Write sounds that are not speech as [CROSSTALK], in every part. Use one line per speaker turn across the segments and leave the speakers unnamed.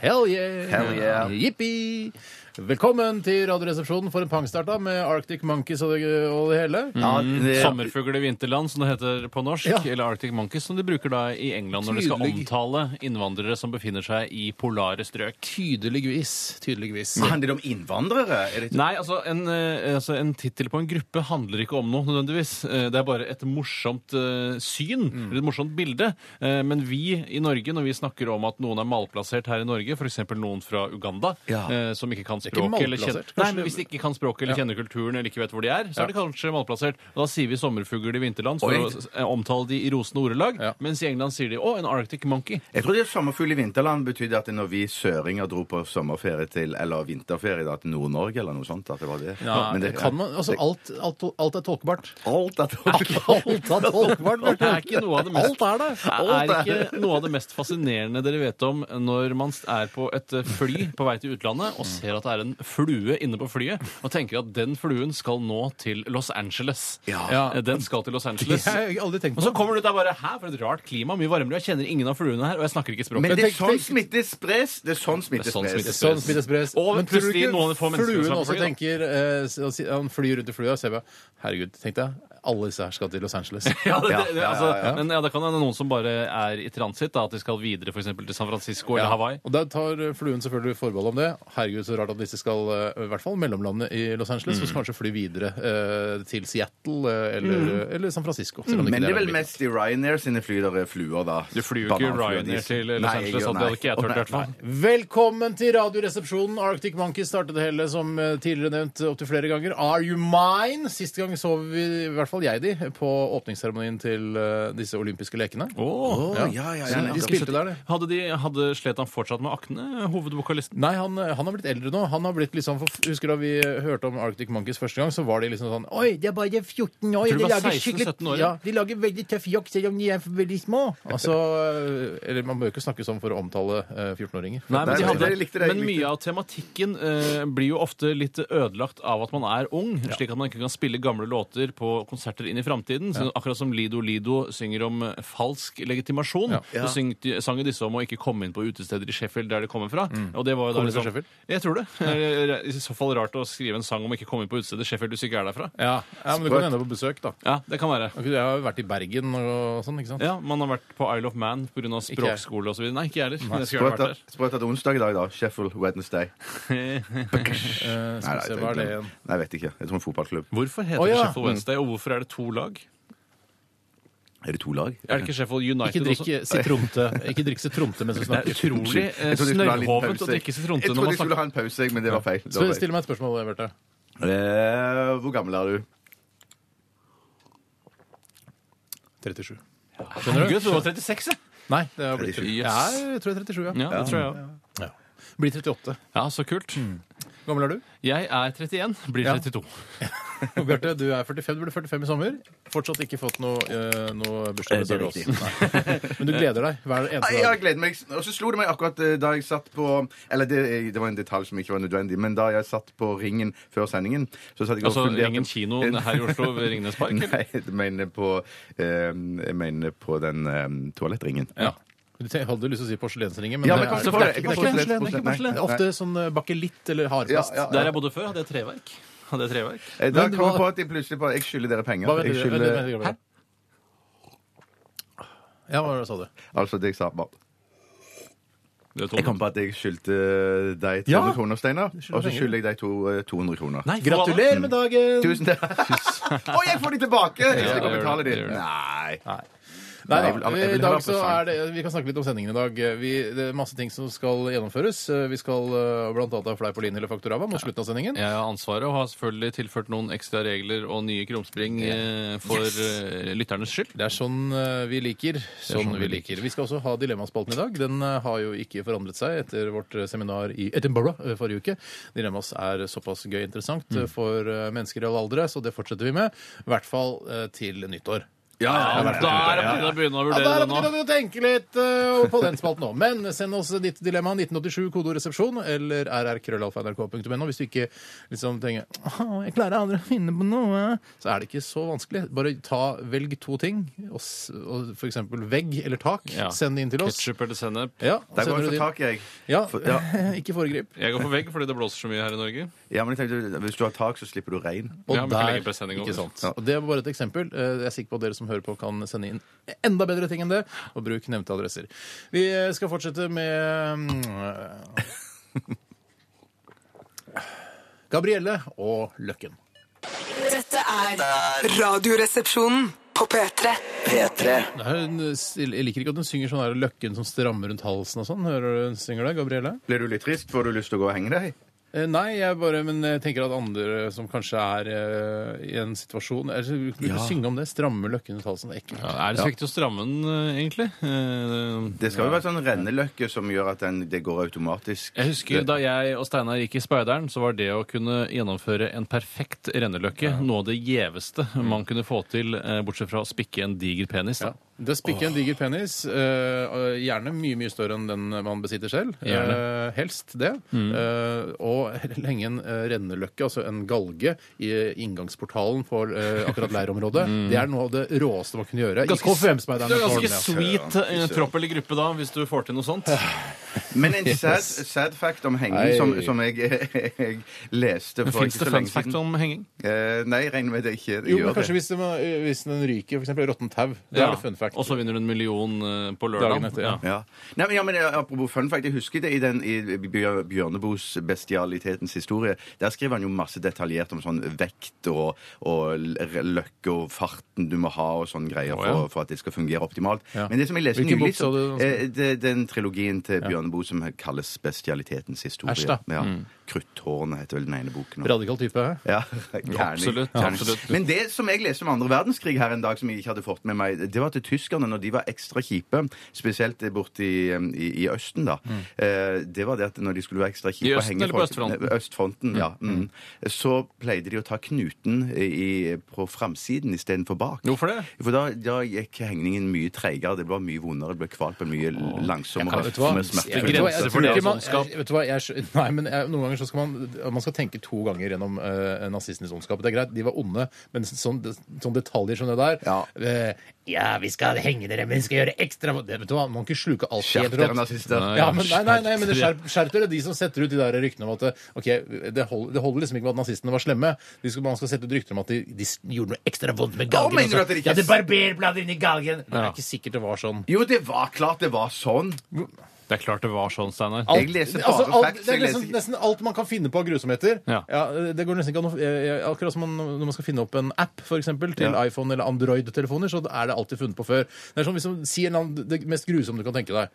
Hell yeah!
Hell yeah.
Jippi! Velkommen til Radioresepsjonen for en pangstart da, med Arctic Monkeys og det, og det hele.
Sommerfugl Mm. i vinterland, som det heter på norsk,
Ja.
eller Arctic Monkeys, som de bruker da i England når de skal
Tydelig.
omtale innvandrere som befinner seg i polare strøk.
Tydeligvis. Tydeligvis.
Handler det om innvandrere? Er det
Nei, altså en, eh, altså, en tittel på en gruppe handler ikke om noe nødvendigvis. Eh, Det er bare et morsomt eh, syn,
Mm.
eller et morsomt bilde. Eh, Men vi i Norge, når vi snakker om at noen er malplassert her i Norge, f.eks. noen fra Uganda,
Ja.
eh, som ikke kan
er ikke
språket eller kjenner
malplassert.
Nei,
Kanskje
men hvis de ikke kan språket eller
Ja.
kjenner kulturen eller ikke vet hvor de er, så
Ja.
er de kanskje malplassert. Og da sier vi sommerfugl i vinterland for
Oi.
å s- eh, omtale de i rosende ordelag,
Ja.
mens i England sier de 'Å, en Arctic Monkey'.
Jeg tror det er sommerfugl i vinterland betydde at når vi søringer dro på sommerferie til eller vinterferie da, til Nord-Norge eller noe sånt, at det var det.
Ja,
Men
det, kan man, altså,
det-
alt, alt, alt er tolkbart.
alt er
[LAUGHS] Alt er tolkbart,
Det
Bjarte.
er ikke noe av det mest,
Alt er det.
er ikke noe av det mest fascinerende dere vet om når man er på et fly på vei til utlandet og ser at det er en flue inne på flyet, og tenker at den fluen skal nå til Los Angeles.
Ja.
Den skal til Los
Det
Angeles.
har jeg aldri tenkt
Og
på.
så kommer du ut der bare Hæ, for et rart klima, mye varmere. Jeg kjenner ingen av fluene her, og jeg snakker ikke
[LAUGHS] Men
språket.
det er
Tenk-
sånn
tenk-
smitte spres! Det er sånn smitte
Det er sånn smitte
spres.
spres.
Sånn smittes spres.
Og
Men tror du
plutselig
ikke
noen få mennesker som
fluen
er på
også
fly, da?
tenker eh, s- og si- Han flyr rundt i flua, og ser bare Herregud, tenk deg. Alle disse her skal til Los Angeles.
[LAUGHS] Ja, det,
Ja,
det, det,
ja,
altså,
ja, ja.
Men ja, det kan hende noen som bare er i transitt, da, at de skal videre for eksempel til San Francisco eller
Ja,
Hawaii.
Og Da tar eh, fluen selvfølgelig forbehold om det. Herregud, så rart at disse skal eh, i hvert fall mellomlande i Los Angeles,
Mm.
og så kanskje fly videre eh, til Seattle eh, eller, eller San Francisco. selv om
Men
ikke
det er
der
vel mest i Ryanair sine fly der er fluer, da.
Du flyr jo ikke
Bananfluer, de-
Ryanair til Los
Nei, jeg
Angeles,
gjør-
så det hadde ikke jeg
nei.
turt, i hvert fall.
Velkommen til Radioresepsjonen. Arctic Monkeys startet det hele som eh, tidligere nevnt opptil flere ganger. Are You Mine? Sist gang sov vi, i hvert fall jeg, de, på åpningsseremonien til eh, disse olympiske lekene.
Åh.
Å, ja, ja, ja,
Så de
ja.
spilte der, det.
Hadde, de, hadde slet han fortsatt med akne, hovedvokalisten?
Nei, han, eh, han har blitt eldre nå. Han har blitt liksom, for- Husker da vi hørte om Arctic Monkeys første gang, så var de liksom sånn Oi, det er bare 14 år.
Tror du
De
det var
lager
16,
skikkelig
17 år, ja.
ja, De lager veldig tøff jokk selv om de er veldig små. Altså, eh, eller Man bør jo ikke snakke sånn for å omtale eh, 14-åringer.
Nei, men, de
Nei,
hadde,
jeg likte det, jeg
men
likte det.
mye av tematikken eh, blir jo ofte litt ødelagt av at man er ung, slik at man ikke kan spille gamle låter på konserter inn i framtiden. Så Akkurat som Lido Lido synger om eh, falsk legitimasjon,
Ja.
Ja.
så syng, sang jo disse om å ikke komme inn på utesteder i Sheffield der de kommer fra. Og det var jo da
Kommer de fra
liksom-
Sheffield?
Jeg tror det. Eh, I så fall rart å skrive en sang om å ikke komme inn på utestedet i Sheffield hvis du ikke er derfra.
Ja, ja men du kan ende på besøk, da.
Ja, det kan være.
Jeg har jo vært i Bergen og sånn, ikke sant?
Ja, Man har vært på Isle of Man pga.
Ikke jeg.
språkskole osv. Nei, ikke jeg heller. men jeg skulle
Sprøtt
gjerne vært
at- Sprøtt at det er onsdag i dag, da. Sheffield Wednesday.
der.
Eh,
Nei,
skal vi
nei,
se, hva er det igjen?
Nei, jeg vet ikke. Jeg tror en fotballklubb.
Hvorfor heter
Å, ja.
det Sheffield Wednesday, og hvorfor er det to lag?
Er det to lag?
Er det ikke Sheffield United
Ikke drikk
også?
sitronte [LAUGHS] Ikke drikk sitronte mens
Det
du
er
snakker.
utrolig eh,
Jeg trodde de skulle ha en liten
snørrhovent
pause,
å
jeg.
drikke sitronte
Jeg
når
trodde
man
de skulle
snakker
ha en pause, jeg, men det var feil. Det
Så
var feil.
still meg et spørsmål, Bjarte.
Eh, hvor gammel er du?
37.
Skjønner du? Du var 36, jeg.
Nei, det har blitt
37.
Jeg er- jeg tror jeg er 37, ja.
Ja, det tror jeg Mm. også.
Blir 38.
Ja, så kult.
Hvor gammel er du?
Jeg er 31, blir
Ja.
32.
Og Bjarte, du er 45. Du ble 45 i sommer. Fortsatt ikke fått noe, eh, noe
Eh,
bursdagsbesøk av
det
oss. Nei. Men du gleder deg hver eneste
Nei,
dag.
jeg gleder meg. Og så slo det meg akkurat eh, da jeg satt på Eller det, det var en detalj som ikke var nødvendig, men da jeg satt på Ringen før sendingen så satt jeg og
Altså
funderte-
Ringen kino her i Oslo ved Ringnes [LAUGHS] Park. eller?
Nei, [LAUGHS] jeg mener på, eh, jeg mener på den eh, toalettringen.
Ja.
Du te- hadde lyst til å si porselensringen, men,
Ja, men
det er-
kanskje
det er
for-
ikke
kanskje
porselen,
porselens-
det er ikke
porselens.
porselen. Det er Ofte sånn eh, bakelitt eller hardplast.
Ja, ja.
Der jeg bodde før, hadde jeg treverk. Hadde jeg treverk?
Eh, Da
Men
kom
hva-
jeg på at jeg plutselig bare Jeg skylder dere penger.
Hva vet
Jeg
du?
skylder,
Vent, vent, vent, vent. Ja, hva sa du?
altså det jeg sa bare.
Det er
Jeg kom
tomt.
på at jeg skyldte eh, deg 200
Ja.
kroner, Steinar.
skylder
Og så
penger.
skylder jeg deg to, eh, 200 kroner.
Nei, for hva da?
Gratulerer
[LAUGHS]
med dagen!
Tusen takk. Å, jeg får de tilbake! Hvis jeg
det
kan
gjør
betale de.
det, det gjør det.
Nei.
Nei. Nei,
jeg vil- jeg
da,
vil
i
heller ha
dag så
presang.
er det, Vi kan snakke litt om sendingen i dag. Vi, det er masse ting som skal gjennomføres. Vi skal eh, blant annet ha Fleipolini eller Faktorava mot slutten av sendingen.
Jeg har ansvaret og har selvfølgelig tilført noen ekstra regler og nye krumspring eh, for eh, lytternes skyld.
Det er sånn eh, vi liker. Sånn, vi liker. Vi skal også ha Dilemmaspalten i dag. Den eh, har jo ikke forandret seg etter vårt eh, seminar i Edinburgh eh, forrige uke. Dilemmas er såpass gøy og interessant eh, for eh, mennesker i alle aldre, så det fortsetter vi med. I hvert fall eh, til nyttår.
Ja,
det
da
er
er det
det.
på tide å begynne å
Ja, da
vurdere det
er det på
nå.
tide å tenke litt eh, på den spalten òg. Men send oss ditt dilemma 1987, kodoresepsjon, eller rrkrøllalfa.nrk.no. Hvis du ikke liksom tenker «Åh, jeg klarer aldri å finne på noe, så er det ikke så vanskelig. Bare ta, velg to ting, og, s- og for eksempel vegg eller tak.
Ja.
Send det inn til oss.
Ketchup eller sennep.
Ja, og
Der går jeg
sender
for
du det inn.
tak, jeg.
Ja,
For- ja.
[LAUGHS] ikke foregrip.
Jeg går på vegg fordi det blåser så mye her i Norge.
Ja, men jeg tenkte, Hvis du har tak, så slipper du regn.
Og
Ja, men ikke legge
der,
presenning over.
ikke sant.
Ja.
Og det var bare et eksempel. Eh, Jeg er sikker på at dere som hører på, kan sende inn enda bedre ting enn det. Og bruk nevnte adresser. Vi eh, skal fortsette med mm, eh, Gabrielle og Løkken.
Dette er Radioresepsjonen på P3.
P3.
Det er hun, jeg liker ikke at hun synger sånn der Løkken som strammer rundt halsen og sånn. Hører du hun synger det, Gabrielle?
Blir du litt trist? Får du lyst til å gå og henge deg?
Eh, Nei, jeg bare, men jeg tenker at andre som kanskje er eh, i en situasjon eller, Vi kan ikke synge om det. Stramme Løkken rundt halsen. Det er ekkelt.
Ja, er det så viktig å stramme den, eh, egentlig? Eh,
Det skal jo være sånn renneløkke som gjør at den, det går automatisk.
Jeg husker Da jeg og Steinar gikk i Speideren, så var det å kunne gjennomføre en perfekt renneløkke noe av det gjeveste man kunne få til, eh, bortsett fra å spikke en diger penis. Da.
Det spikker en diger penis. eh, og gjerne mye mye større enn den man besitter selv.
Gjerne. Mm.
Eh, helst det. Eh, og [LAUGHS] lenge en eh, renneløkke, altså en galge, i eh, inngangsportalen på eh, akkurat
[LAUGHS]
leirområdet. Det er noe av det råeste man kunne gjøre.
Mm. Ganske-
I KFUM-speideren.
Det er ganske
Kolm, ja.
sweet eh, tropp eller gruppe da, hvis du får til noe sånt.
Men en sad, sad fact om henging
Nei.
som, som jeg, [LAUGHS] jeg leste for
Fins
ikke så
det fun
lenge
fact
siden.
om henging?
Eh, nei, jeg regner med det ikke. Det
Jo,
gjør
men kanskje
det.
hvis, det, må- hvis den ryker, f.eks. råttent tau. Det er det fun fact.
Og så vinner du en million eh, på
Dagen
lørdag.
etter, ja.
Ja. Nei, men, ja, men eh, Apropos fun fact, jeg husker det i, den, i Bjør- Bjørneboes Bestialitetens historie. Der skriver han jo masse detaljert om sånn vekt og, og l- løkke og farten du må ha og sånne greier
Å, ja.
for, for at det skal fungere optimalt.
Ja.
Men det som jeg leste
Hvilken bok
nylig,
sa du,
så- eh, det- den trilogien til Bjørneboe som kalles Bestialitetens historie.
Æsj, da. Mm.
Ja. Kruttårnet heter vel den ene boken. og-
Radikal type. hæ?
[LAUGHS]
Ja, gjerne.
Absolutt,
Gjerne.
absolutt.
Men det som jeg leste om andre verdenskrig her en dag, som jeg ikke hadde fått med meg, det var at tyskerne, når de var ekstra kjipe, spesielt borte i, um, i, i Østen, da, eh, det var det at når de skulle være ekstra kjipe
Mm. I
og
Østen
henge
eller på
folk-
Østfronten?
Nei, Østfronten, ja. Mm. Så pleide de å ta knuten i, på framsiden istedenfor bak.
Hvorfor det?
For da, da gikk hengningen mye treigere, det var mye vondere, det ble kvalt på mye langsommere.
Vet du hva?
mer
Jeg-
smertefull.
vet du hva? Jeg
Grenser
tror
for det,
ikke
altså,
man-
ondskap.
jeg- Vet du hva? Jeg, skj- nei, men jeg, noen ganger så skal man Man skal tenke to ganger gjennom eh, nazistenes ondskap. Det er greit, de var onde, men sånn, sånn detaljer som det der
Ja.
eh, ja, vi skal henge dere, men vi skal gjøre ekstra Vet du hva, Man kan ikke sluke alt
Skjerp
helt
dere,
rått.
nazister.
Nei.
Ja, men, nei, nei, nei, men det skjerp, skjerp dere, de som setter ut de der ryktene om at ok, det, hold, det holder liksom ikke med at nazistene var slemme. De skal, man skal sette ut rykter om at de, de gjorde noe ekstra vondt med galgen.
mener
og
du
så-
at det ikke
ja,
er
det
s-
barberblader inni galgen! Det er
Ja.
ikke sikkert det var sånn.
Jo, det var klart det var sånn!
Det er klart det var sånn, Steinar.
Alt-
Jeg leser bare facts,
Det
jeg
er
leser
liksom,
ikke-
nesten alt man kan finne på av grusomheter.
Ja.
det går nesten ikke an å, eh, Akkurat som man, når man skal finne opp en app for eksempel, til
Ja.
iPhone eller Android-telefoner, så er det alltid funnet på før. Det er som hvis man sier en annen- det mest grusomme du kan tenke deg.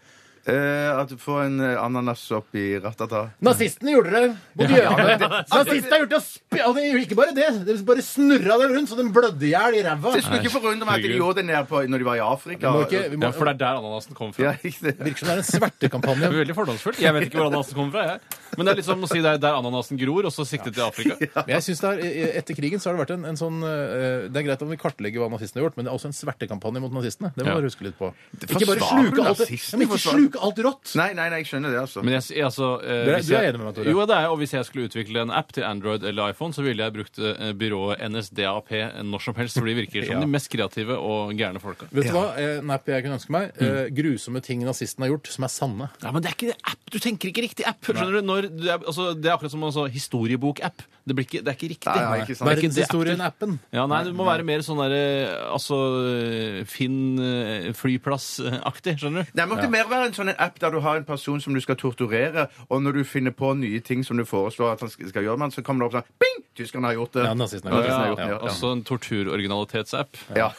Eh, at du får en eh, ananas opp i ratata.
Nazistene gjorde det! Mot jødene.
ja, det- altså,
Nazistene har gjort det! og sp- Og de gjorde ikke bare det, de bare snurra dem rundt så den blødde i hjel i ræva.
Det skulle ikke forundre meg at de
herregud.
gjorde det ned på, når de var i Afrika.
Vi må ikke- vi må-
Ja, for det er der ananasen kom fra.
[LAUGHS] Ja, ikke det.
Virker som det er en svertekampanje.
Det er veldig fordomsfullt. Jeg vet ikke hvor ananasen kommer fra. jeg. Men det er litt som å si det er der ananasen gror, og så sikte til [LAUGHS] Afrika.
Men jeg synes det er, eh, Etter krigen så har det vært en, en sånn eh, Det er greit om vi kartlegger hva nazistene har gjort, men det er også en svertekampanje mot nazistene. Det må
Ja.
dere huske litt på.
forsvarer
Ikke bare sluke alt,
nazistene,
ja, men ikke
forsvarer-
sluke alt rått!
Nei, nei, nei, jeg skjønner det, altså.
Men jeg, s- altså, eh,
Du er-
hvis
du er
jeg-
enig med meg, Tore?
Jo, det er jeg. Og hvis jeg skulle utvikle en app til Android eller iPhone, så ville jeg brukt eh, byrået NSDAP når som helst, for de
[LAUGHS]
virker som de mest kreative og gærne folka.
Vet du hva? Eh, Napp jeg kunne ønske meg? Eh, grusomme ting nazistene har gjort, som er sanne.
Ja, men det er ikke app. Du tenker ikke riktig app. Skjønner du? Når for det er, altså, det er akkurat som en altså, historiebok-app. Det, blir ikke, det er ikke riktig.
Nei, nei, ikke sant.
Det er ikke det appen.
Verdenshistorien-appen.
Ja, nei, du må være mer sånn der eh, altså eh, Finn eh, flyplass-aktig, skjønner du?
Det måtte mer være en sånn en app der du har en person som du skal torturere, og når du finner på nye ting som du foreslår at han sk- skal gjøre med han, så kommer det opp sånn Bing! Tyskerne har gjort det.
Ja, nazistene har
har
gjort det.
gjort det.
Ja,
Ja,
Altså en torturoriginalitets-app. [LAUGHS]
ja.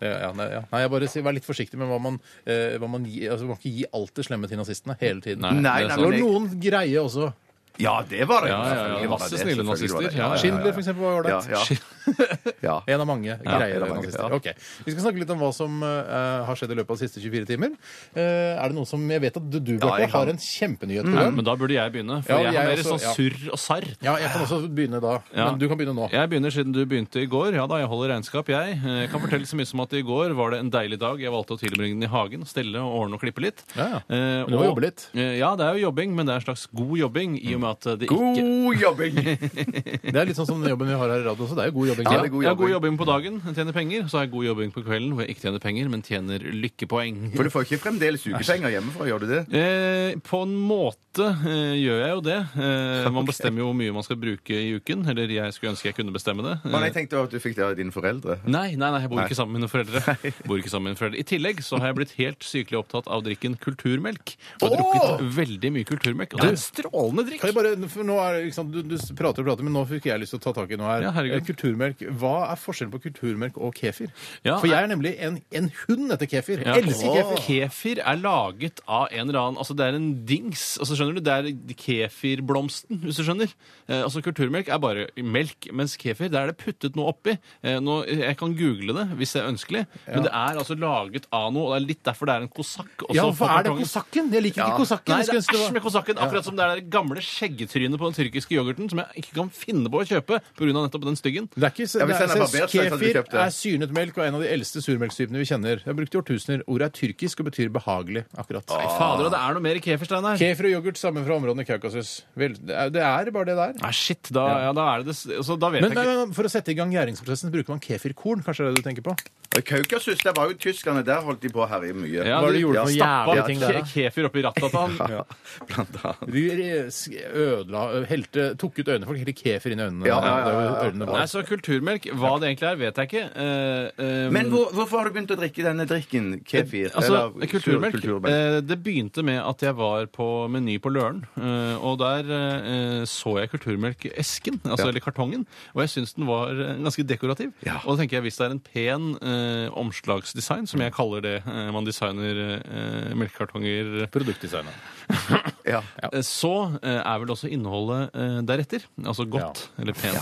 Ja, ja, nei, ja. nei, jeg bare sier, Vær litt forsiktig med hva man, eh, hva man gir. Altså, man må ikke gi alt det slemme til nazistene hele tiden.
Nei,
Nei,
det er
nei,
Det var
men jeg-
noen greie også.
ja, det var det.
Ja, ja, ja.
Selvfølgelig var
Masse
det,
snille
selvfølgelig var det.
nazister. Ja, ja, ja.
Schindler, for eksempel, var jo ålreit.
Ja, [LAUGHS] ja. ja.
En av mange
en
greier.
av mange,
nazister.
ja.
Ok, Vi skal snakke litt om hva som eh, har skjedd i løpet av de siste 24 timer. Eh, er det noen som Jeg vet at du, du Bjarte,
jeg kan. Mm.
har en kjempenyhet på
Nei,
gang.
men da burde jeg begynne. For
Ja,
jeg,
jeg
har mer
også,
sånn
ja.
surr og sarr.
Ja, jeg kan også begynne da.
Ja.
Men du kan begynne nå.
Jeg begynner siden du begynte i går. Ja da, jeg holder regnskap, jeg. Eh, Jeg kan fortelle så mye som at i går var det en deilig dag. Jeg valgte å tilbringe den i hagen, stelle og ordne og klippe litt.
Ja, ja.
Eh,
Men du må
og-
jobbe litt.
Eh, Ja, det er jo jobbing, men det er en slags god jobbing i og med at det [LAUGHS] ikke
God jobbing!
Det er litt sånn som den jobben vi har her i radio også. Det er jo god jobbing.
Ja,
Ja,
det er god
jeg har god
jobbing.
jobbing på dagen, jeg tjener penger. Så har jeg god jobbing på kvelden, hvor jeg ikke tjener penger, men tjener lykkepoeng.
For du får ikke
[LAUGHS]
fremdeles ukepenger hjemmefra, gjør du det?
Eh, på en måte eh, gjør jeg jo det. Eh, [LAUGHS] man bestemmer jo hvor mye man skal bruke i uken. Eller jeg skulle ønske jeg kunne bestemme det. Eh,
Men jeg tenkte at du fikk det av dine foreldre.
Nei, nei, nei, jeg bor ikke sammen med mine [LAUGHS] foreldre. Bor ikke sammen med mine foreldre. I tillegg så har jeg blitt helt sykelig opptatt av drikken kulturmelk. Og har drukket veldig mye kulturmelk. Og det er en strålende drikk.
Kan jeg bare, for nå er, det, ikke sant, du, du prater og prater, men nå fikk jeg lyst til å ta tak i noe her.
Ja, herregud.
Eh, kulturmelk. Hva er forskjellen på kulturmelk og kefir?
Ja,
for jeg er nemlig en, en hund etter kefir.
Ja.
Jeg elsker kefir.
Kefir er laget av en eller annen Altså, det er en dings. Altså, skjønner du? Det er kefirblomsten, hvis du skjønner. Eh, altså, kulturmelk er bare melk, mens kefir, der er det puttet noe oppi. Eh, nå, jeg kan google det hvis det er ønskelig, men det er altså laget av noe, og det er litt derfor det er en kosakk også
Ja, hvorfor
på
er det
kartongen.
kosakken? Jeg liker
Ja.
ikke kosakken.
Nei,
Jeg
det er
skulle ønske det
æsj
var-
med kosakken. Akkurat som det er det gamle skjeggetrynet på den tyrkiske yoghurten som jeg ikke kan finne på å kjøpe pga. nettopp den styggen.
Det er ikke,
Ja,
det
hvis
er,
den er barbert, så er det sånn
kefir
du kjøpte.
er syrnet melk og en av de eldste surmelkstypene vi kjenner. Jeg har brukt i årtusener. Ordet er tyrkisk og betyr behagelig. akkurat.
Nei, fader, og det er noe mer i kefirstein her.
Kefir og yoghurt sammen fra områdene i Kaukasus. Vel, det er- det er bare det der.
Nei, shit, da, ja. da er det det altså, Da vet
Men
jeg ikke.
nei, nei, for å sette i gang gjæringsprosessen bruker man kefirkorn, kanskje det er det du tenker på?
Kaukasus, der var jo tyskerne. Der holdt de på å herje mye.
Ja,
Hva er
du-
det du gjorde
ja,
for noe
Stappa
jævlig ting der, da?
ke- kefir oppi rattet til
[LAUGHS]
han.
Ja, blant annet.
De ødela, helte, tok ut øynene. Folk helte kefir inn i øynene.
Ja, ja, ja, ja, ja.
Det er jo øynene
Nei,
våre.
så kulturmelk, hva det egentlig er, vet jeg ikke. Eh, eh,
Men hvor, hvorfor har du begynt å drikke denne drikken? Kefir?
Altså,
eller
kulturmelk,
sur- kulturmelk?
eh, Det begynte med at jeg var på Meny på Løren. eh, Og der eh, så jeg kulturmelkesken, altså,
Ja.
eller kartongen, og jeg syns den var eh, ganske dekorativ.
Ja.
Og da tenker jeg hvis det er en pen eh, omslagsdesign, som jeg kaller det eh, man designer eh, melkekartonger
Produktdesignet.
Ja.
eh, Så eh, er vel også innholdet eh, deretter. Altså godt eller pent.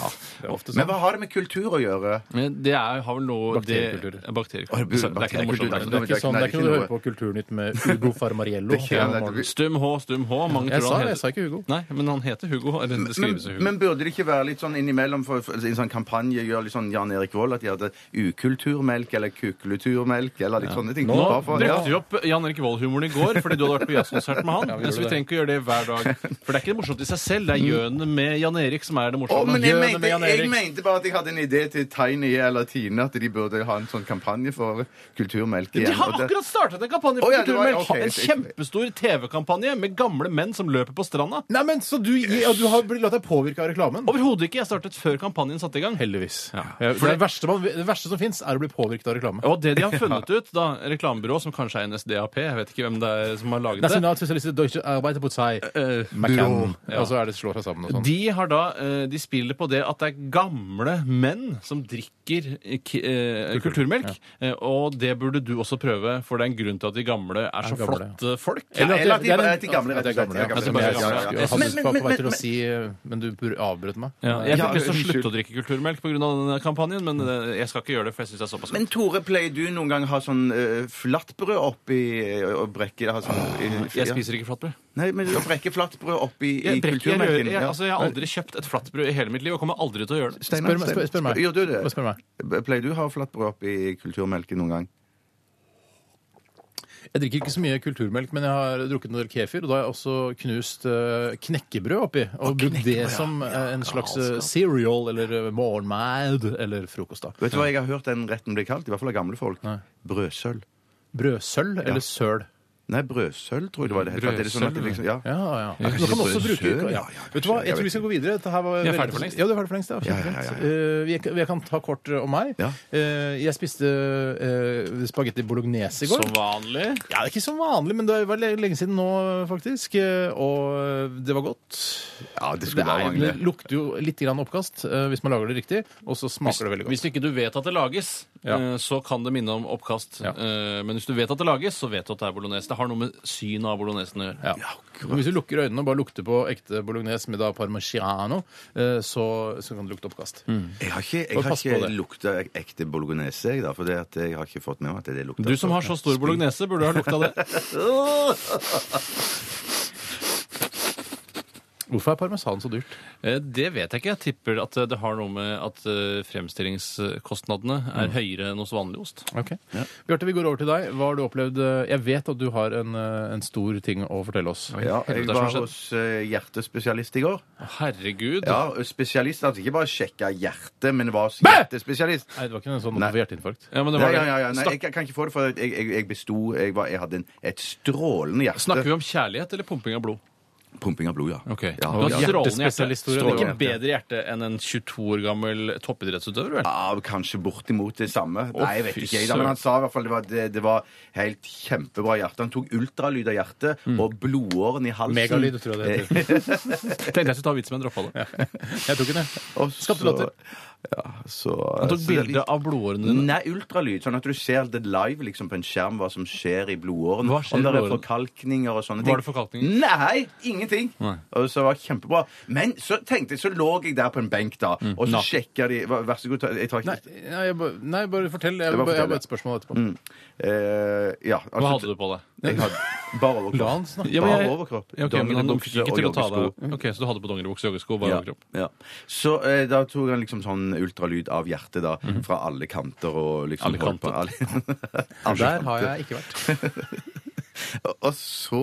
Det er ofte
Men
sånn.
hva har det med kultur å gjøre?
Men Det er, har vel noe
Bakteriekulturer.
Det, bakteriekultur.
Å, det blir
Så Det er ikke noe
bakteriekultur,
morsomt.
Det er ikke sånn, det er ikke noe du hører på Kulturnytt med Ugo Farmariello.
Det kan-
Ja,
det-
Stum H, stum H. Mange
Jeg
tror
sa
han
det, jeg
heter-
sa ikke Hugo.
Nei, men han heter Hugo. Eller det
Men,
skrives Hugo.
men burde det ikke være litt sånn innimellom for, for en sånn kampanje gjør litt sånn Jan Erik Vold at de hadde ukulturmelk eller kukuluturmelk eller litt sånne ting?
Nå
Bare for-
brukte vi opp Jan Erik Vold-humoren i går fordi du hadde vært på jazzkonsert
[LAUGHS]
med han.
gjorde
så vi
det.
trenger ikke å gjøre det hver dag. For det er ikke det morsomt i seg selv. Det er gjønet med Jan Erik som er det
Mm. Å,
morsomme.
men jeg
Gjør det
mente,
med Jan
jeg
Erik.
mente bare at jeg hadde en idé til Tiny eller Tine at de burde ha en sånn kampanje for kulturmelk igjen.
de har
og det-
akkurat startet en kampanje
Å,
for
ja, det var-
kulturmelk!
ok,
en
så-
kjempestor TV-kampanje med gamle menn som løper på stranda.
Nei, men Så du, ja, du har blitt- latt deg påvirke av reklamen?
Overhodet ikke. Jeg startet før kampanjen satte i gang.
Heldigvis.
Ja.
Ja, for det, verste man, det verste som fins, er å bli påvirket av reklame.
Og det de har funnet ut, da, reklamebyrået som kanskje er NSDAP, jeg vet ikke hvem det er som har laget det
Nasjonalsosialistisk Deutsche Arbeiderpartei.
Eh,
sånn McCann.
Ja.
Og så er det slår seg sammen og sånn.
De, har da, eh, de spiller på det at det er gamle menn som drikker eh, k- eh, kulturmelk. Eh, Og det burde du også prøve, for det er en grunn til at de gamle er så
gamle, ja.
flotte folk.
Ja, eller at de
det er en-
bare er til gamle,
at de er
rett og slett.
gamle,
Ja,
ja. Jeg
gamle,
skulle-
gamle,
ja.
jeg hadde
Men- men-
på vei til å
men-
si Men du avbrøt meg.
Ja, jeg
Ja,
fikk lyst til å
unnskyld.
slutte å drikke kulturmelk pga. denne kampanjen, men eh, jeg skal ikke gjøre det, for jeg syns det er såpass
Men Tore, pleier du noen gang å ha sånn uh, flatbrød oppi eh, og brekke ha sånn, i-
Jeg spiser ikke flatbrød.
Nei, men å brekke flatbrød oppi i
Jeg, brekker, jeg, rører-
kulturmelken.
jeg,
ja.
altså, jeg har aldri kjøpt et flatbrød i hele mitt liv og kommer aldri til å gjøre det.
Steinar,
Spør, meg- spør, spør meg.
Gjør du det?
Bare Spør meg.
Pleier du å ha flatbrød oppi kulturmelken noen gang?
Jeg drikker ikke så mye kulturmelk, men jeg har drukket en del kefir. Og da har jeg også knust eh, knekkebrød oppi. Og brukt det som eh, en slags eh, cereal eller eh, morgenmat eller frokost. da.
Vet du hva jeg har hørt den retten bli kalt? I hvert fall av gamle folk. Brødsøl.
Brødsølv eller søl?
Nei, brødsølv, tror jeg det var det het. At det er sånn at det liksom,
Brødsølv,
ja.
Ja, ja.
Ja,
Nå kan man også
kanskje
bruke
brødsøl,
ja.
ja, ja,
Vet du hva,
jeg
jeg tror
vet
vi skal gå videre. Dette her var
Jeg er
veldig-
ferdig for lengst.
Ja, du er ferdig for lengst.
Ja,
Ja,
ja, ja, ja.
kjempefint. Eh, vi, jeg kan ta kort om meg.
Ja.
Eh, jeg spiste uh, spagetti bolognese i går.
Som vanlig.
Ja, det er ikke som vanlig, men det var le- lenge siden nå, faktisk. eh, Og det var godt.
ja, det
Det,
skulle bare
er, det
mangle.
lukter jo litt grann oppkast eh, hvis man lager det riktig, og så smaker det veldig godt.
Hvis ikke du vet at det lages,
Ja.
eh, så kan det minne om oppkast.
Ja.
Eh, Men hvis du vet at det lages, så vet du at det er bolognese. Det har noe med synet av bolognesen å gjøre.
Ja. Men Hvis du lukker øynene og bare lukter på ekte bolognese med da parmigiano, eh, så, så kan det lukte oppkast.
Jeg har ikke, jeg
Og
har
pass på
ikke
det.
lukta ekte bolognese, jeg, da. For det at jeg har ikke fått med meg at det lukter sånn.
Du som har så stor bolognese, burde ha lukta det.
[LAUGHS]
Hvorfor er parmesan så dyrt?
Eh, Det vet jeg ikke. Jeg tipper at eh, det har noe med at eh, fremstillingskostnadene
Mm.
er høyere enn hos vanlig ost.
Ok. Bjarte, vi går over til deg. Hva har du opplevd? Jeg vet at du har en, eh, en stor ting å fortelle oss.
Ja, jeg
Helvete,
var
som har
hos eh, hjertespesialist i går.
Herregud.
Ja, Spesialist, altså ikke bare sjekka hjertet, men var
Bæ!
hjertespesialist.
Nei, det var ikke en sånn
Nei.
for hjerteinfarkt.
Ja, men det
Ja,
var
ja,
det.
ja, ja. Nei,
Snak-
jeg kan- kan ikke få det, for jeg, jeg, jeg besto jeg, var, jeg hadde en, et strålende hjerte.
Snakker vi om kjærlighet eller pumping av blod?
Pumping av blod, ja.
Ok,
Ja,
Du har
ja.
et strålende hjerte.
Hjertespesialist, Tore.
Det er
Strålende
ikke bedre hjerte enn en 22 år gammel toppidrettsutøver, vel?
Ja, kanskje bortimot det samme. Nei, jeg vet
fy
ikke. Jeg, da, men han sa i hvert fall det var, det, det var helt kjempebra hjerte. Han tok ultralyd av hjertet
Mm.
og blodåren i halsen. Eh,
Megalyd, tror jeg
[LAUGHS]
det heter.
Tenkte jeg skulle ta vitsen, men droppa det.
Jeg tok den, jeg.
Og
Skapte latter.
Ja, så
Han tok
så det er
bilde av blodårene dine.
Nei, ultralyd. Sånn at du ser det live liksom, på en skjerm hva som skjer i blodåren.
Hva skjer
Om
i
det er
blodåren?
forkalkninger og sånne ting.
Var det forkalkninger?
Nei, ingenting. Og så var det kjempebra. Men så tenkte jeg, så lå jeg der på en benk, da, og så
Naken.
sjekka de Vær vær så god, ta- jeg tar ikke
Nei, nei, jeg bare, nei, bare fortell.
bare
Jeg, jeg har
fortell, Mm,
bare et spørsmål etterpå.
Eh, ja, altså,
Hva hadde du på deg?
Jeg hadde bare overkropp.
La han snakke.
Ja, men jeg-
Bare overkropp.
Ja, ok, men han fikk
Dongeribukse
ikke til
og
å ta
joggesko.
deg Ok, Så du hadde på dongeribukse og joggesko, bare
Ja,
overkropp?
ja. Så eh, da tok han liksom sånn ultralyd av hjertet da, fra alle kanter og liksom
Mhm. Alle
holdt på- alle, alle
Der har jeg ikke vært.
Og så,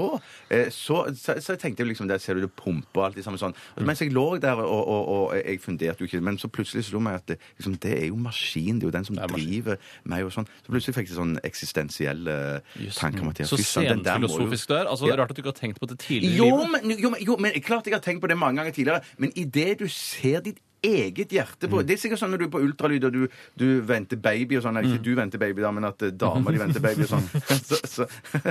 eh, så, så, så tenkte jeg liksom, der ser du det pumper og alt det samme sånn. Og mens jeg lå der, og, og, og jeg funderte jo ikke, men så plutselig slo meg at det, liksom, det er jo maskin, det er jo den som driver meg og sånn. Så plutselig fikk jeg sånn eksistensielle tanker om at jeg-
Så
fy søren, den der må jo-
senfilosofisk du er. Altså, det er Rart at du ikke har tenkt på det tidligere i
jo,
livet.
men, jo, men, jo, men klart jeg har tenkt på det mange ganger tidligere, men idet du ser ditt eget hjerte
Mm.
på Det er sikkert sånn når du er på ultralyd og du, du venter baby og sånn.
Mm.
Nei, ikke du venter baby, da, men at eh, dama di venter baby og
[LAUGHS]
sånn. Så, så,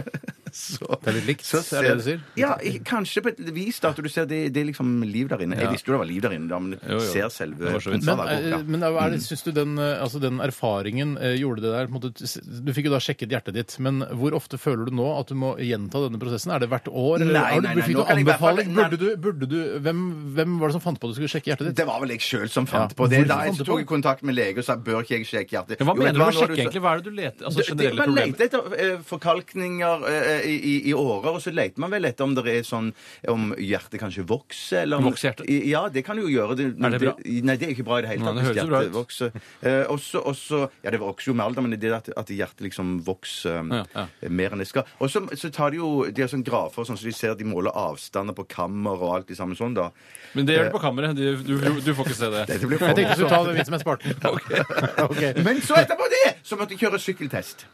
[LAUGHS] så,
Det er litt likt, er det det du sier?
Ja, i- kanskje på et vis da, at du ser det, det er liksom liv der inne. Jeg visste jo det var liv der inne, da, men
jo.
ser selve
Det var så vidt.
pumpa
Men,
der
eh,
borte.
men er
Mm.
det, synes du den, eh, altså den erfaringen eh, gjorde det der på en måte, t- s- Du fikk jo da sjekket hjertet ditt, men hvor ofte føler du nå at du må gjenta denne prosessen? Er det hvert år? eller
Nei,
har du,
nei, nei,
fikk
nå
du
kan jeg i hvert fall-
anbefaling? Burde du, burde du, hvem, hvem var det som fant på at du skulle sjekke hjertet ditt?
Det var vel jeg sjøl som fant
Ja,
på det.
hvorfor
Da jeg
fant du på
tok
det?
jeg kontakt med lege og sa bør ikke jeg sjekke hjertet.
Men Hva
Jo,
mener
vet
du
hva, nå
med å
har
sjekke, egentlig? Hva er det du leter altså,
Det- det-
generelle
Man
problemer?
leter etter eh, forkalkninger eh, i, i, i årer, og så leter man vel etter om det er sånn Om hjertet kanskje vokser, eller om
Vokser hjertet?
I- Ja, det kan jo gjøre det.
Er det bra?
Nei, det er ikke bra i det hele
Nei,
tatt. hvis
det høres jo bra
hjertet
ut.
vokser. Eh, og så- og så Ja, det vokser jo med alder, men det er det at, at hjertet liksom vokser eh,
Ja, ja.
mer enn det skal. Og så, så tar de jo De har sånn grafer, sånn så de ser de måler avstander på kammer og alt det samme sånn, da.
Men det gjør du på kammeret. Du, du, du, du får ikke se det.
Dette blir
Jeg
for-
tenkte jeg skulle ta den vitsen med
[LAUGHS]
sparten. Ok.
Men så etterpå det så måtte jeg kjøre sykkeltest.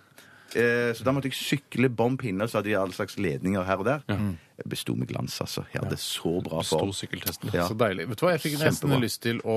Eh, Så da måtte jeg sykle bånd pinner, så hadde jeg alle slags ledninger her og der. Jeg Besto med glans, altså. Jeg hadde så bra
Sto
form.
sykkeltesten.
Ja.
Så deilig. Vet du hva, jeg fikk nesten
Kjempebra.
lyst til å,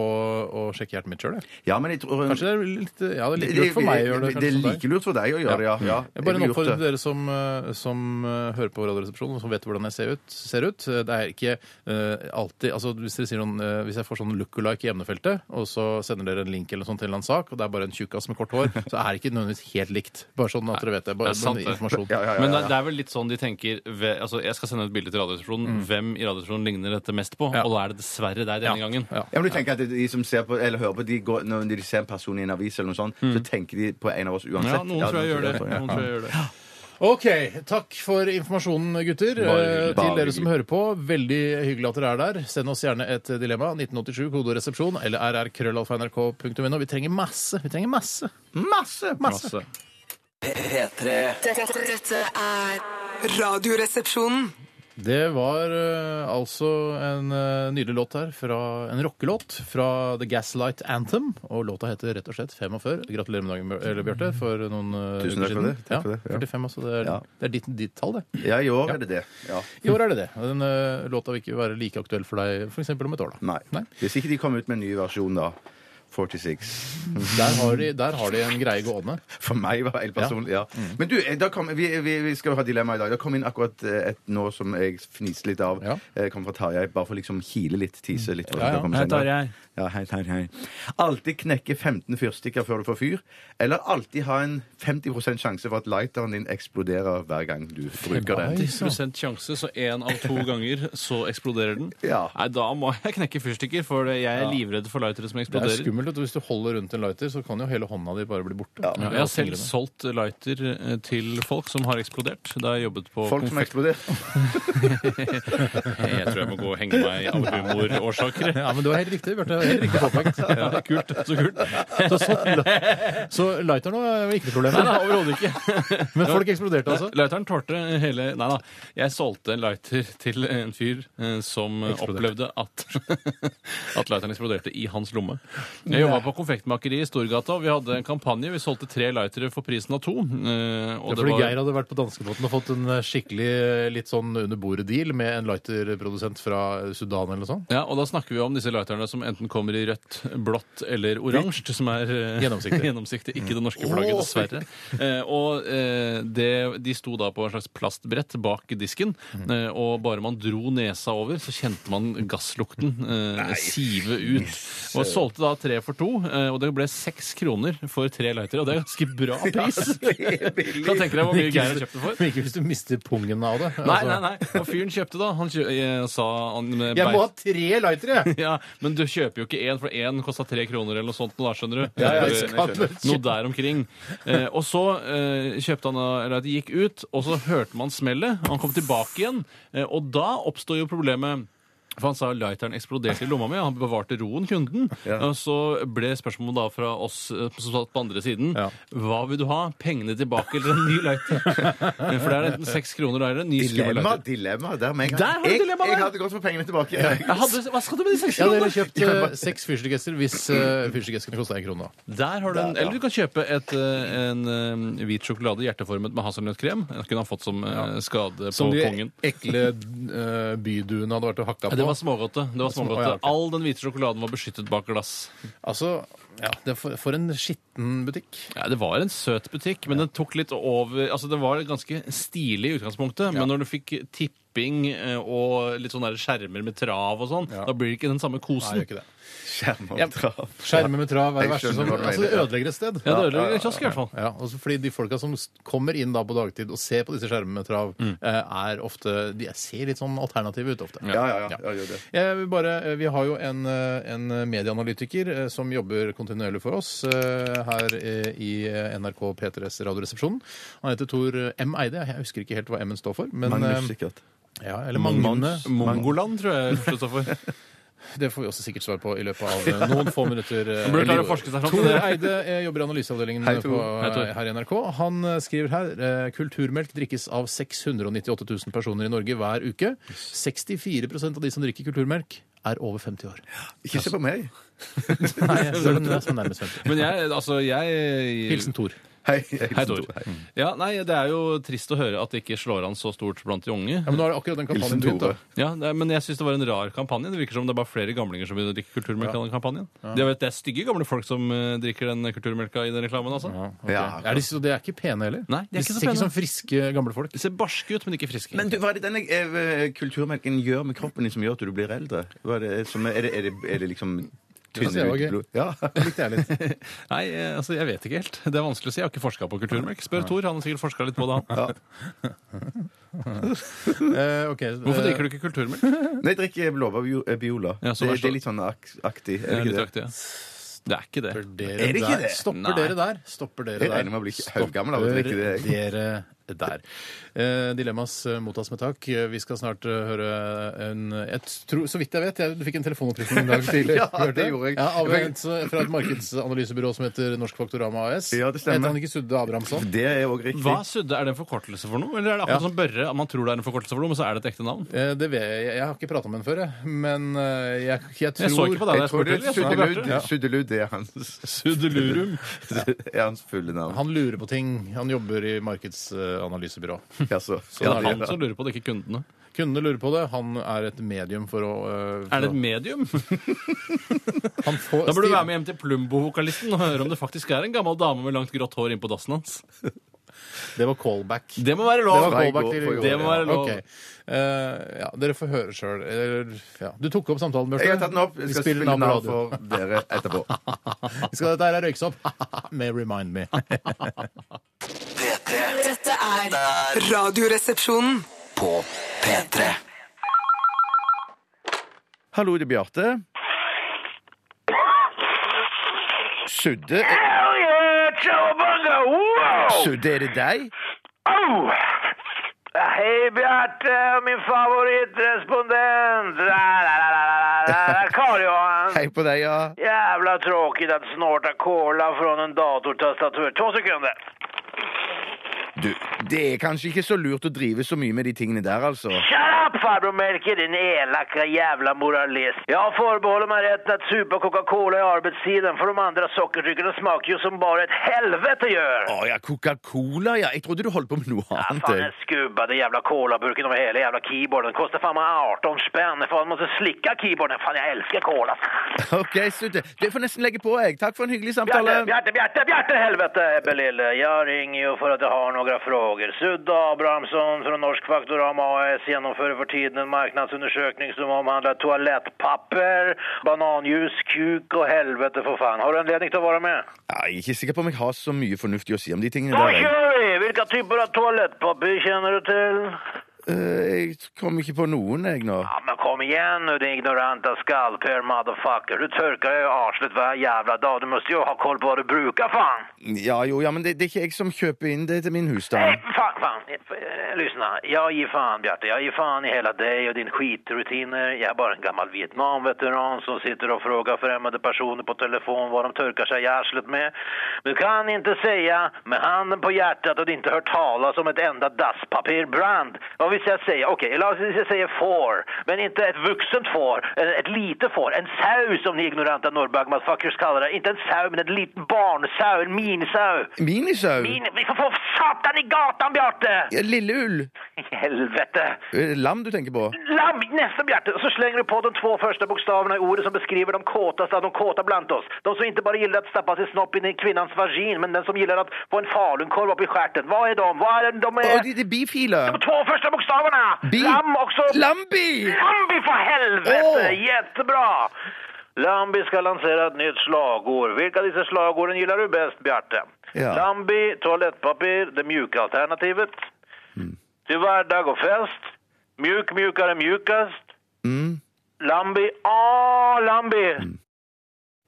å sjekke hjertet mitt sjøl, jeg.
Ja, men jeg tror eh,
Kanskje det er litt ja, det er like lurt for meg å gjøre
Det
det.
er
kanskje som deg.
like lurt for deg å gjøre det, ja. ja.
Jeg
ville
bare en
gjort
oppfordring til
det.
dere som, eh, som eh, hører på Radioresepsjonen, og som vet hvordan jeg ser ut. Ser ut. Eh, Det er ikke eh, alltid altså Hvis dere sier noen, eh, hvis jeg får sånn look-alike i emnefeltet, og så sender dere en link eller noe sånt til en eller annen sak, og det er bare en tjukkas med kort hår, så er det ikke nødvendigvis helt likt. Bare sånn at dere vet det. Bare
Det er sant,
noen
det.
informasjon.
Ja, ja, ja,
Men
ja,
det, det er vel litt sånn de tenker ve- altså Jeg skal sende et bilde til Radioresepsjonen. Hvem i Radioresepsjonen ligner dette mest på? Og da er det dessverre deg denne gangen.
Ja.
Ja, men du tenker at de som ser på, eller hører på, de går, når de ser en person i en avis eller noe sånt, så tenker de på en av oss uansett.
Ja, noen tror jeg gjør det. Noen tror jeg gjør det.
OK. Takk for informasjonen, gutter.
Bare hyggelig.
Eh,
Bare
Til dere som
hyggelig.
hører på, veldig hyggelig at dere er der. Send oss gjerne et dilemma. 1987, kode og resepsjon, eller rrkrøllalfa.nrk.no. Vi trenger masse. Vi trenger masse.
Masse!
Masse.
P- P3.
Dette, dette er Radioresepsjonen.
Det var eh, altså en eh, nydelig låt her, fra, en rockelåt fra The Gaslight Anthem. Og låta heter rett og slett 45. Gratulerer med dagen, Bjør- eller, Bjarte, for noen eh,
Tusen takk for
uker siden.
det. Takk for det, ja.
Ja, 45, altså. Det er,
Ja.
det er ditt, ditt tall, det.
Ja, i år er det det. Ja.
I år er det det. Den eh, låta vil ikke være like aktuell for deg f.eks. om et år, da.
Nei. Hvis ikke de kommer ut med en ny versjon, da. 46.
Der har de, der har de en greie gående.
For meg, var det helt personlig. Ja. Men du, eh, da kom, vi, vi, vi skal jo ha dilemma i dag. Det kom inn akkurat eh, et nå som jeg fniste litt av.
Ja.
Eh, Kom fra Tarjei. Bare for liksom kile litt, tise litt. hva som
Ja, ja.
skal komme
Hei,
senere.
Tarjei.
Ja, hei, Tarjei. Alltid knekke 15 fyrstikker før du får fyr, eller alltid ha en 50 sjanse for at lighteren din eksploderer hver gang du bruker den.
10 sjanse, så én av to ganger så eksploderer den.
Ja.
Nei, da må jeg knekke fyrstikker, for jeg er livredd for lightere som
Det er
eksploderer.
skummelt. vet du. Hvis du holder rundt en lighter, så kan jo hele hånda di bare bli borte.
Ja, jeg har selv solgt lighter eh, til folk som har eksplodert. Da jeg jobbet på
Folk som
konfekt...
eksploderer.
Jeg tror jeg må gå og henge
[LAUGHS]
meg av humorårsaker. jeg.
Ja, men det var helt riktig, Bjarte. Det var Helt riktig påpekt.
[LAUGHS] Ja, kult. Så kult.
Så, så, så lighter nå er ikke noe problem.
Nei, nei, overhodet ikke.
Men folk eksploderte, altså?
Lighteren tålte hele Nei da. Jeg solgte en lighter til en fyr eh, som eh, opplevde at, [LAUGHS] at lighteren eksploderte i hans lomme. Jeg jobba på konfektmakeri i Storgata, og vi hadde en kampanje. Vi solgte tre lightere for prisen av to. eh, Og
Det er fordi Geir hadde vært på danskebåten og fått en eh, skikkelig eh, litt sånn under bordet-deal med en lighterprodusent fra Sudan eller noe sånt.
Ja, og da snakker vi om disse lighterne som enten kommer i rødt, blått eller oransje, som er eh,
Gjennomsiktig.
[LAUGHS] gjennomsiktig, Ikke det norske flagget, dessverre. Eh, og eh, det, de sto da på en slags plastbrett bak disken,
Mm.
eh, og bare man dro nesa over, så kjente man gasslukten eh, sive ut. Og solgte da tre for to, eh, og det ble seks kroner for tre lightere, og det er ganske
[LAUGHS]
bra pris! Kan tenke deg hvor mye Geir har kjøpt det for.
Men ikke hvis du mister pungen av det.
Nei,
altså.
nei, nei. Og fyren kjøpte, da. Han kjø eh, sa han eh,
Jeg
beit-
må ha tre lightere, jeg!
[LAUGHS] ja, men du kjøper jo ikke én, for én kosta tre kroner eller noe sånt. nå Da, skjønner du?
Ja, ja,
Eller,
jeg skal-
noe der omkring. Eh, og så eh, kjøpte han da- eller de gikk ut, og så hørte man smellet. Han kom tilbake igjen, eh, og da oppstår jo problemet. For han sa lighteren eksploderte i lomma mi, og han bevarte roen, kunden. Og så ble spørsmålet da fra oss eh, som satt på andre siden,
Ja.
hva vil du ha? Pengene tilbake eller en ny lighter? [LAUGHS] Eh, For det er enten seks kroner da, eller en ny skummel
Dilemma,
lighter.
dilemma. Der, med en gang.
Der har du
jeg,
dilemmaet,
jeg
der.
hadde gått for pengene tilbake. Ja. [LAUGHS]
Jeg hadde, hva skal du med de seks
Jeg hadde
kronene?
heller kjøpt eh, seks fyrstikkesser hvis uh, fyrstikkeskene kosta en krone. da.
Der har du en, Eller du kan kjøpe et, eh, en eh, hvit sjokolade hjerteformet med hasselnøttkrem. Den kunne han fått som eh, skade på
Som de
kongen.
ekle eh, byduene hadde vært og hakka
Ja, Det
på.
var smågodte. Det var smågodte.
Å, ja, ok.
All den hvite sjokoladen var beskyttet bak glass.
Altså, ja, det er for, for en skitten butikk.
Ja, det var en søt butikk, men den tok litt over Altså, det var ganske stilig i utgangspunktet, men når du fikk tipping eh, og litt sånne der skjermer med trav og sånn,
Ja.
da blir det ikke den samme
Nei,
kosen.
gjør ikke det.
Skjermer og trav.
Skjermer med trav er det
Jeg
verste
skjønner
som
hva du
altså, Det
mener, ja.
ødelegger et sted.
Ja, det ødelegger en kiosk i hvert fall.
Ja, også fordi de folka som s- kommer inn da på dagtid og ser på disse skjermene med trav,
Mm.
eh, er ofte De ser litt sånn alternative ut ofte.
Ja, ja, ja. ja. gjør det.
Jeg vil bare, eh, vi har jo en, eh, en medieanalytiker eh, som jobber kontinuerlig for oss eh, her eh, i eh, NRK P3s Radioresepsjon. Han heter Tor eh, M. Eide. Jeg husker ikke helt hva M-en står for. Men,
Magnus,
eh,
sikkert.
ja, eller Magne.
Mongoland, tror jeg [LAUGHS] Kristoffer.
Det får vi også sikkert svar på i løpet
[LAUGHS]
av eh, noen få minutter. eh,
burde klare å
Liv.
forske seg fram til
Tor
det.
Eide eh, jobber i analyseavdelingen
Hei, Tor.
på,
Hei, Tor.
her i NRK. Han eh, skriver her eh, kulturmelk drikkes av 698 000 personer i Norge hver uke. 64 av de som drikker kulturmelk, er over
[LAUGHS]
50 år.
Ikke se på meg.
Nei, jeg er den som er nærmest 50.
Men jeg, altså, jeg
Hilsen Tor.
Hei,
Hei, Tor. Ja, nei, Det er jo trist å høre at det ikke slår an så stort blant de unge.
Ja, men nå har akkurat den kampanjen
Hilsen
begynt. da.
Tore.
Ja, det er, Men jeg syns det var en rar kampanje. Det virker som det er bare flere gamlinger som vil drikke kulturmelk. av den kampanjen. Det, er, vel- det er stygge gamle folk som eh, drikker den kulturmelka i den reklamen. altså.
Ja,
Er de, så de er ikke pene heller?
Nei, de er ikke så
ser
pene.
ikke sånn friske gamle folk.
De ser barske ut, men ikke friske.
Men du, hva er det denne eh, kulturmelken gjør med kroppen din som gjør at du blir eldre? Hva er, det, som, er, det, er, det, er det liksom
synes jeg
tynne
var gøy.
ut blod? Ja. [LAUGHS]
Likte jeg
[LAUGHS]
litt.
Nei, eh, altså, jeg vet ikke helt. Det er vanskelig å si. Jeg har ikke forska på kulturmelk. Spør Tor. Han har sikkert forska litt på det, han.
Eh, ok,
Hvorfor drikker du ikke kulturmelk?
Nei, drikk eh, blåbærbiola.
Ja, så
det,
vær så-
det er litt sånn ak aktig.
Det
Er det
er, litt
ikke det?
aktig, ja. det er ikke det.
Er det ikke det?
Stopper dere der? Stopper
Nei.
dere der? Stopper dere
Jeg
der?
regner med å bli haugammel av å drikke det.
Stopper dere der. Eh, dilemmas eh, mottas med takk. Eh, Vi skal snart eh, høre en jeg tror, Så vidt jeg vet, jeg, du fikk en telefonoppringning
[LAUGHS]
en dag tidlig.
Ja,
Hørte
det gjorde jeg.
Ja, av en s- fra et markedsanalysebyrå som heter Norsk Faktorama AS.
Ja, det stemmer.
Heter han ikke Sudde Abrahamsson?
Det er òg riktig.
Hva er Sudde? Er det en forkortelse for noe? Eller er det akkurat
Ja.
som Børre? at Man tror det er en forkortelse for noe, men så er det et ekte navn?
Eh, Det vet jeg. Jeg har ikke prata med ham før, jeg. Men eh, jeg, jeg tror
Jeg så ikke på deg da
Jeg
jeg
tror
spurte.
det
eller?
er
Jeg så på
Sudelud.
Bjarte.
Sudelud er hans,
Sudelurum.
er hans fulle navn.
Han lurer på ting. Han jobber i markedsanalysebyrå.
Ja, så.
Det
Ja,
er han
det-
som lurer på det, ikke kundene.
Kundene lurer på det. Han er et medium for å eh, for
Er det
å-
et medium?
Han får-
Da burde du
Stiv-
være med hjem til Plumbo-vokalisten og høre om det faktisk er en gammel dame med langt grått hår innpå dassen hans.
Det var callback.
Det må være
Det
lov!
var callback
går
til
for i
i går.
går,
Det må være lov.
Ok. Eh, ja, dere får høre sjøl. Ja. Du tok opp samtalen, Bjarte.
Jeg har tatt den opp. Jeg
Vi
skal
spiller
spille
den
den av
av på
for
radio.
dere etterpå.
Vi skal dette her er røyksopp [LAUGHS] med Remind Me.
P3
Dette er Radioresepsjonen.
på P3.
Hallo, det er Bjarte. Sudde
Hell yeah, Cowabunga! Wow!
Sudde, er det deg?
Oh! Hej Bjarte, min favoritrespondent! Karl-Johan!
Hei på deg, ja.
Jävla tråkigt att snorta cola från en datortastatur. Två sekunder.
Du, det er kanskje ikke så lurt å drive så mye med de tingene der, altså.
Shut up farbror Melker, din elaka jävla moralist. Jag förbehåller mig rätten att supa Coca-Cola i arbetstiden för de andra sockerdryckerna smakar ju som bara ett helvete gör.
Å ja, Coca-Cola, ja. Jeg trodde du holdt på med noe
Ja,
annet.
fan den
jeg.
skubbade jävla colaburken över hela jävla keyboarden. Kostar fan mig 18 spänn. Fan, man måste slicka keyboarden. Fan, jag älskar cola.
OK, Sudde. Du får nesten legge på, jeg. Takk for en hyggelig
Bjarte,
samtale.
Bjarte, Bjarte, Bjarte, helvete Ebbe Lille. Jag ringer ju för att jag har några frågor. Sudda Abrahamsson från Norsk Faktorama AS genomförde för tiden en marknadsundersökning som omhandlar toalettpapper, bananljus, kuk och helvete för fan. Har du anledning till att vara med?
Ja, jeg er ikke sikker på om jeg har så mye fornuftig å si om de tingene
Då
der. Jeg,
kör vi! Vilka typer av toalettpapper känner du till?
Eh, jeg kom ikke på noen, jeg, nå.
Ja, men kom igen nu din ignoranta skallper motherfucker. Du törkar ju arslet varje jävla dag. Du måste ju ha koll på vad du brukar fan.
Ja jo, ja, men det, det er ikke jeg som kjøper inn det til min
Nej,
husstand.
fan, fan. Eh, Lyssna, jag ger fan Bjarte. Jag ger fan i hela dig och din skitrutiner. Jag är bara en gammal Vietnamveteran som sitter och frågar främmande personer på telefon vad de törkar sig i arslet med. Du kan inte säga med handen på hjärtat att du inte hört talas om ett enda dasspapperbrand. Vad vill jag säga? Okej, okay, jag säger får. Men inte ett vuxent får, eh, ett litet får. En sau som ni ignoranta norrbagmatfuckers kallar det. Inte en sau, men en liten barnsau, en minisau.
Minisau?
Min, vi får få satan i gatan, Bjarte!
Ja, Lille ull?
Helvete!
Er det Lam du tenker på?
Lamm, nästa Bjarte! Så slänger du på de två första bokstäverna i ordet som beskriver de kåtaste av de kåta bland oss. De som inte bara gillar att stappa sin snopp in i kvinnans vagin, men den som gillar att få en falukorv upp i stjärten. Vad är de? Vad är de? De är...
Å, de, de bifile?
De två första bokstäverna!
Bi...
Lamm också...
Lambi!
Lambi för helvete!
Åh!
Jättebra! Lambi ska lansera ett nytt slagord. Vilka av dessa slagorden gillar du bäst, Bjarte?
Ja.
Lambi, toalettpapper, det mjuka alternativet.
Mm.
Till vardag och fest. Mjuk, mjukare, mjukast.
Mm.
Lambi, ah, Lambi!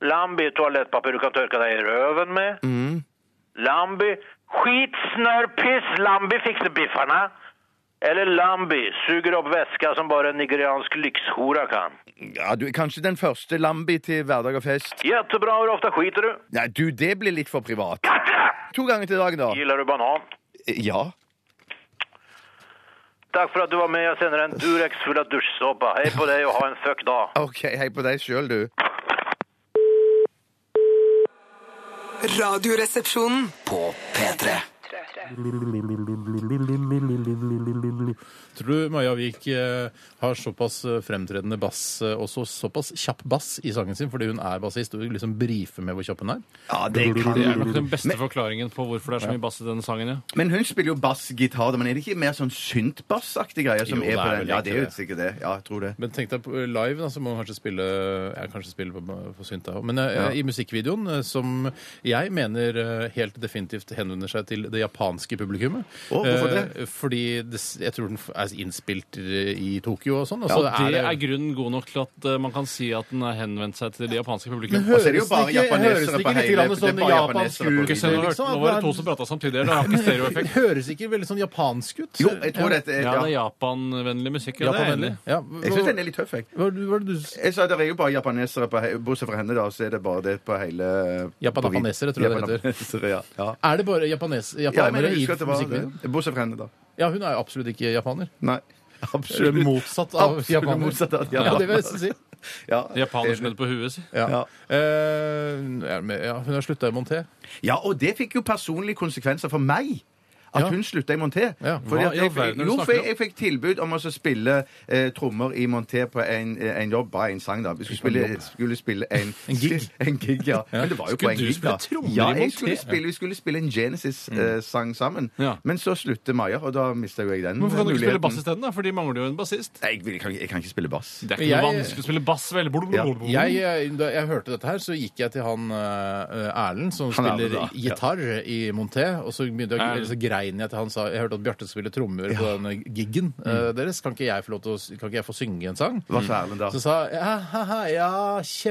Lambi, toalettpapper du kan torka dig i röven med.
Mm.
Lambi. Skit, snör, piss, Lambi fixar biffarna. Eller Lambi, suger upp väska som bara en nigeriansk lyxhora kan.
Ja, du, kanskje den første Lambi til hverdag og fest?
Jättebra, hur ofta skiter du?
Nei, du, det blir litt for privat. To ganger til dagen, da. Eh,
Gillar du banan?
Ja.
Tack för att du var med, jag sänder en Durex full av duschsåpa. Hej på dig och ha en fuck dag.
OK, hei på deg sjøl, du.
Radioresepsjonen.
På P3.
Tror du Maja Vik eh, har såpass eh, fremtredende bass, eh, også såpass kjapp bass i sangen sin, fordi hun er bassist og liksom brifer med hvor kjapp hun er?
Ja, det kan
Det er nok den beste forklaringen på hvorfor det er så mye bass i denne sangen. Ja.
Men hun spiller jo bassgitar, da, men er det ikke mer sånn syntbassaktige greier som
Jo,
er
det
på
er
den?
vel
Ja,
egentlig
det er jo
det.
sikkert det. Ja, jeg tror det.
Men tenk deg på eh, live, da, så må hun kanskje spille Jeg kanskje spille på, på synta òg. Men eh, i musikkvideoen, eh, som jeg mener eh, helt definitivt henvender seg til det japanske publikummet.
Å, hvorfor det?
Eh, Fordi det, s- jeg tror den f- er innspilt i Tokyo og sånn. og
Ja,
så
det er grunnen god nok til at eh, man kan si at den har henvendt seg til det japanske publikum.
hører
Høres det
jo bare
ikke,
japanesere
høres
på
det ikke litt
hele-
grann
det er
sånn
bare
japansk
japanesere på
ut?
videoen.
Ikke se, nå var-
liksom, at
Nå var det
det er-
to som prata samtidig her. Det har ikke
[LAUGHS]
stereoeffekt.
Høres ikke veldig sånn japansk ut?
Jo, jeg tror dette er
Ja, det er
ja.
japanvennlig musikk. Ja, det er jeg enig.
Japanvennlig.
i.
Ja,
Jeg syns den er litt tøff, jeg.
hva, hva var det du s-
Jeg sa det er jo bare japanesere på he- Bortsett fra henne, da, så er det bare det på hele
Japanapanesere, tror jeg det heter.
Japanapanesere, ja. ja.
Er det bare japanes,
Ja, men
japanere
jeg
i
husker at det var
musikkvideoen?
det. Bortsett fra henne, da.
Ja, hun er jo absolutt ikke japaner.
Nei.
Absolutt motsatt av
Absolutt
japaner.
motsatt av
ja,
japaner.
det vil jeg nesten si.
Ja.
Japaner som heter på huet sitt.
Ja.
Ja.
Eh, er det med- ja, hun har slutta i Monté.
ja, og det fikk jo personlige konsekvenser for meg. At
Ja.
hun slutta i Monté.
Ja.
Fordi at
Hva i all verden er det
jo,
du
for jeg,
snakker om?
jeg fikk tilbud om å så spille eh, trommer i Monté på en, eh, en jobb, bare en sang, da. Vi skulle spille, skulle spille
[LAUGHS]
en,
En gig?
[LAUGHS] En gig, ja. Men det var jo på
Skulle
en
du
gig, da.
spille trommer i
ja,
Monté? Mm.
jeg skulle spille, vi skulle spille en Genesis-sang sammen.
Ja.
Men så slutter Maja, og da mista jo jeg den
Hvorfor kan du ikke spille bass
muligheten.
isteden? da? For de mangler jo en bassist.
Nei, jeg, vil- jeg kan, ikke- jeg kan ikke spille bass.
Det er ikke noe
Jeg-
vanskelig å spille bass, vel? Blub, blub,
Ja.
blub, blub.
Jeg, eh, da jeg hørte dette her, så gikk jeg til han eh, Erlend, som
Han Erlend,
spiller
ja.
gitar i Monté, og så, begynte jeg,
Erlend.
eller så grein jeg til han sa Jeg hørte at Bjarte skulle spille trommer på denne giggen eh,
Mm.
deres. Kan ikke jeg få lov til å s- Kan ikke jeg få synge en sang?
Hva sa Erlend da?
Så sa jeg ja, haha, ja,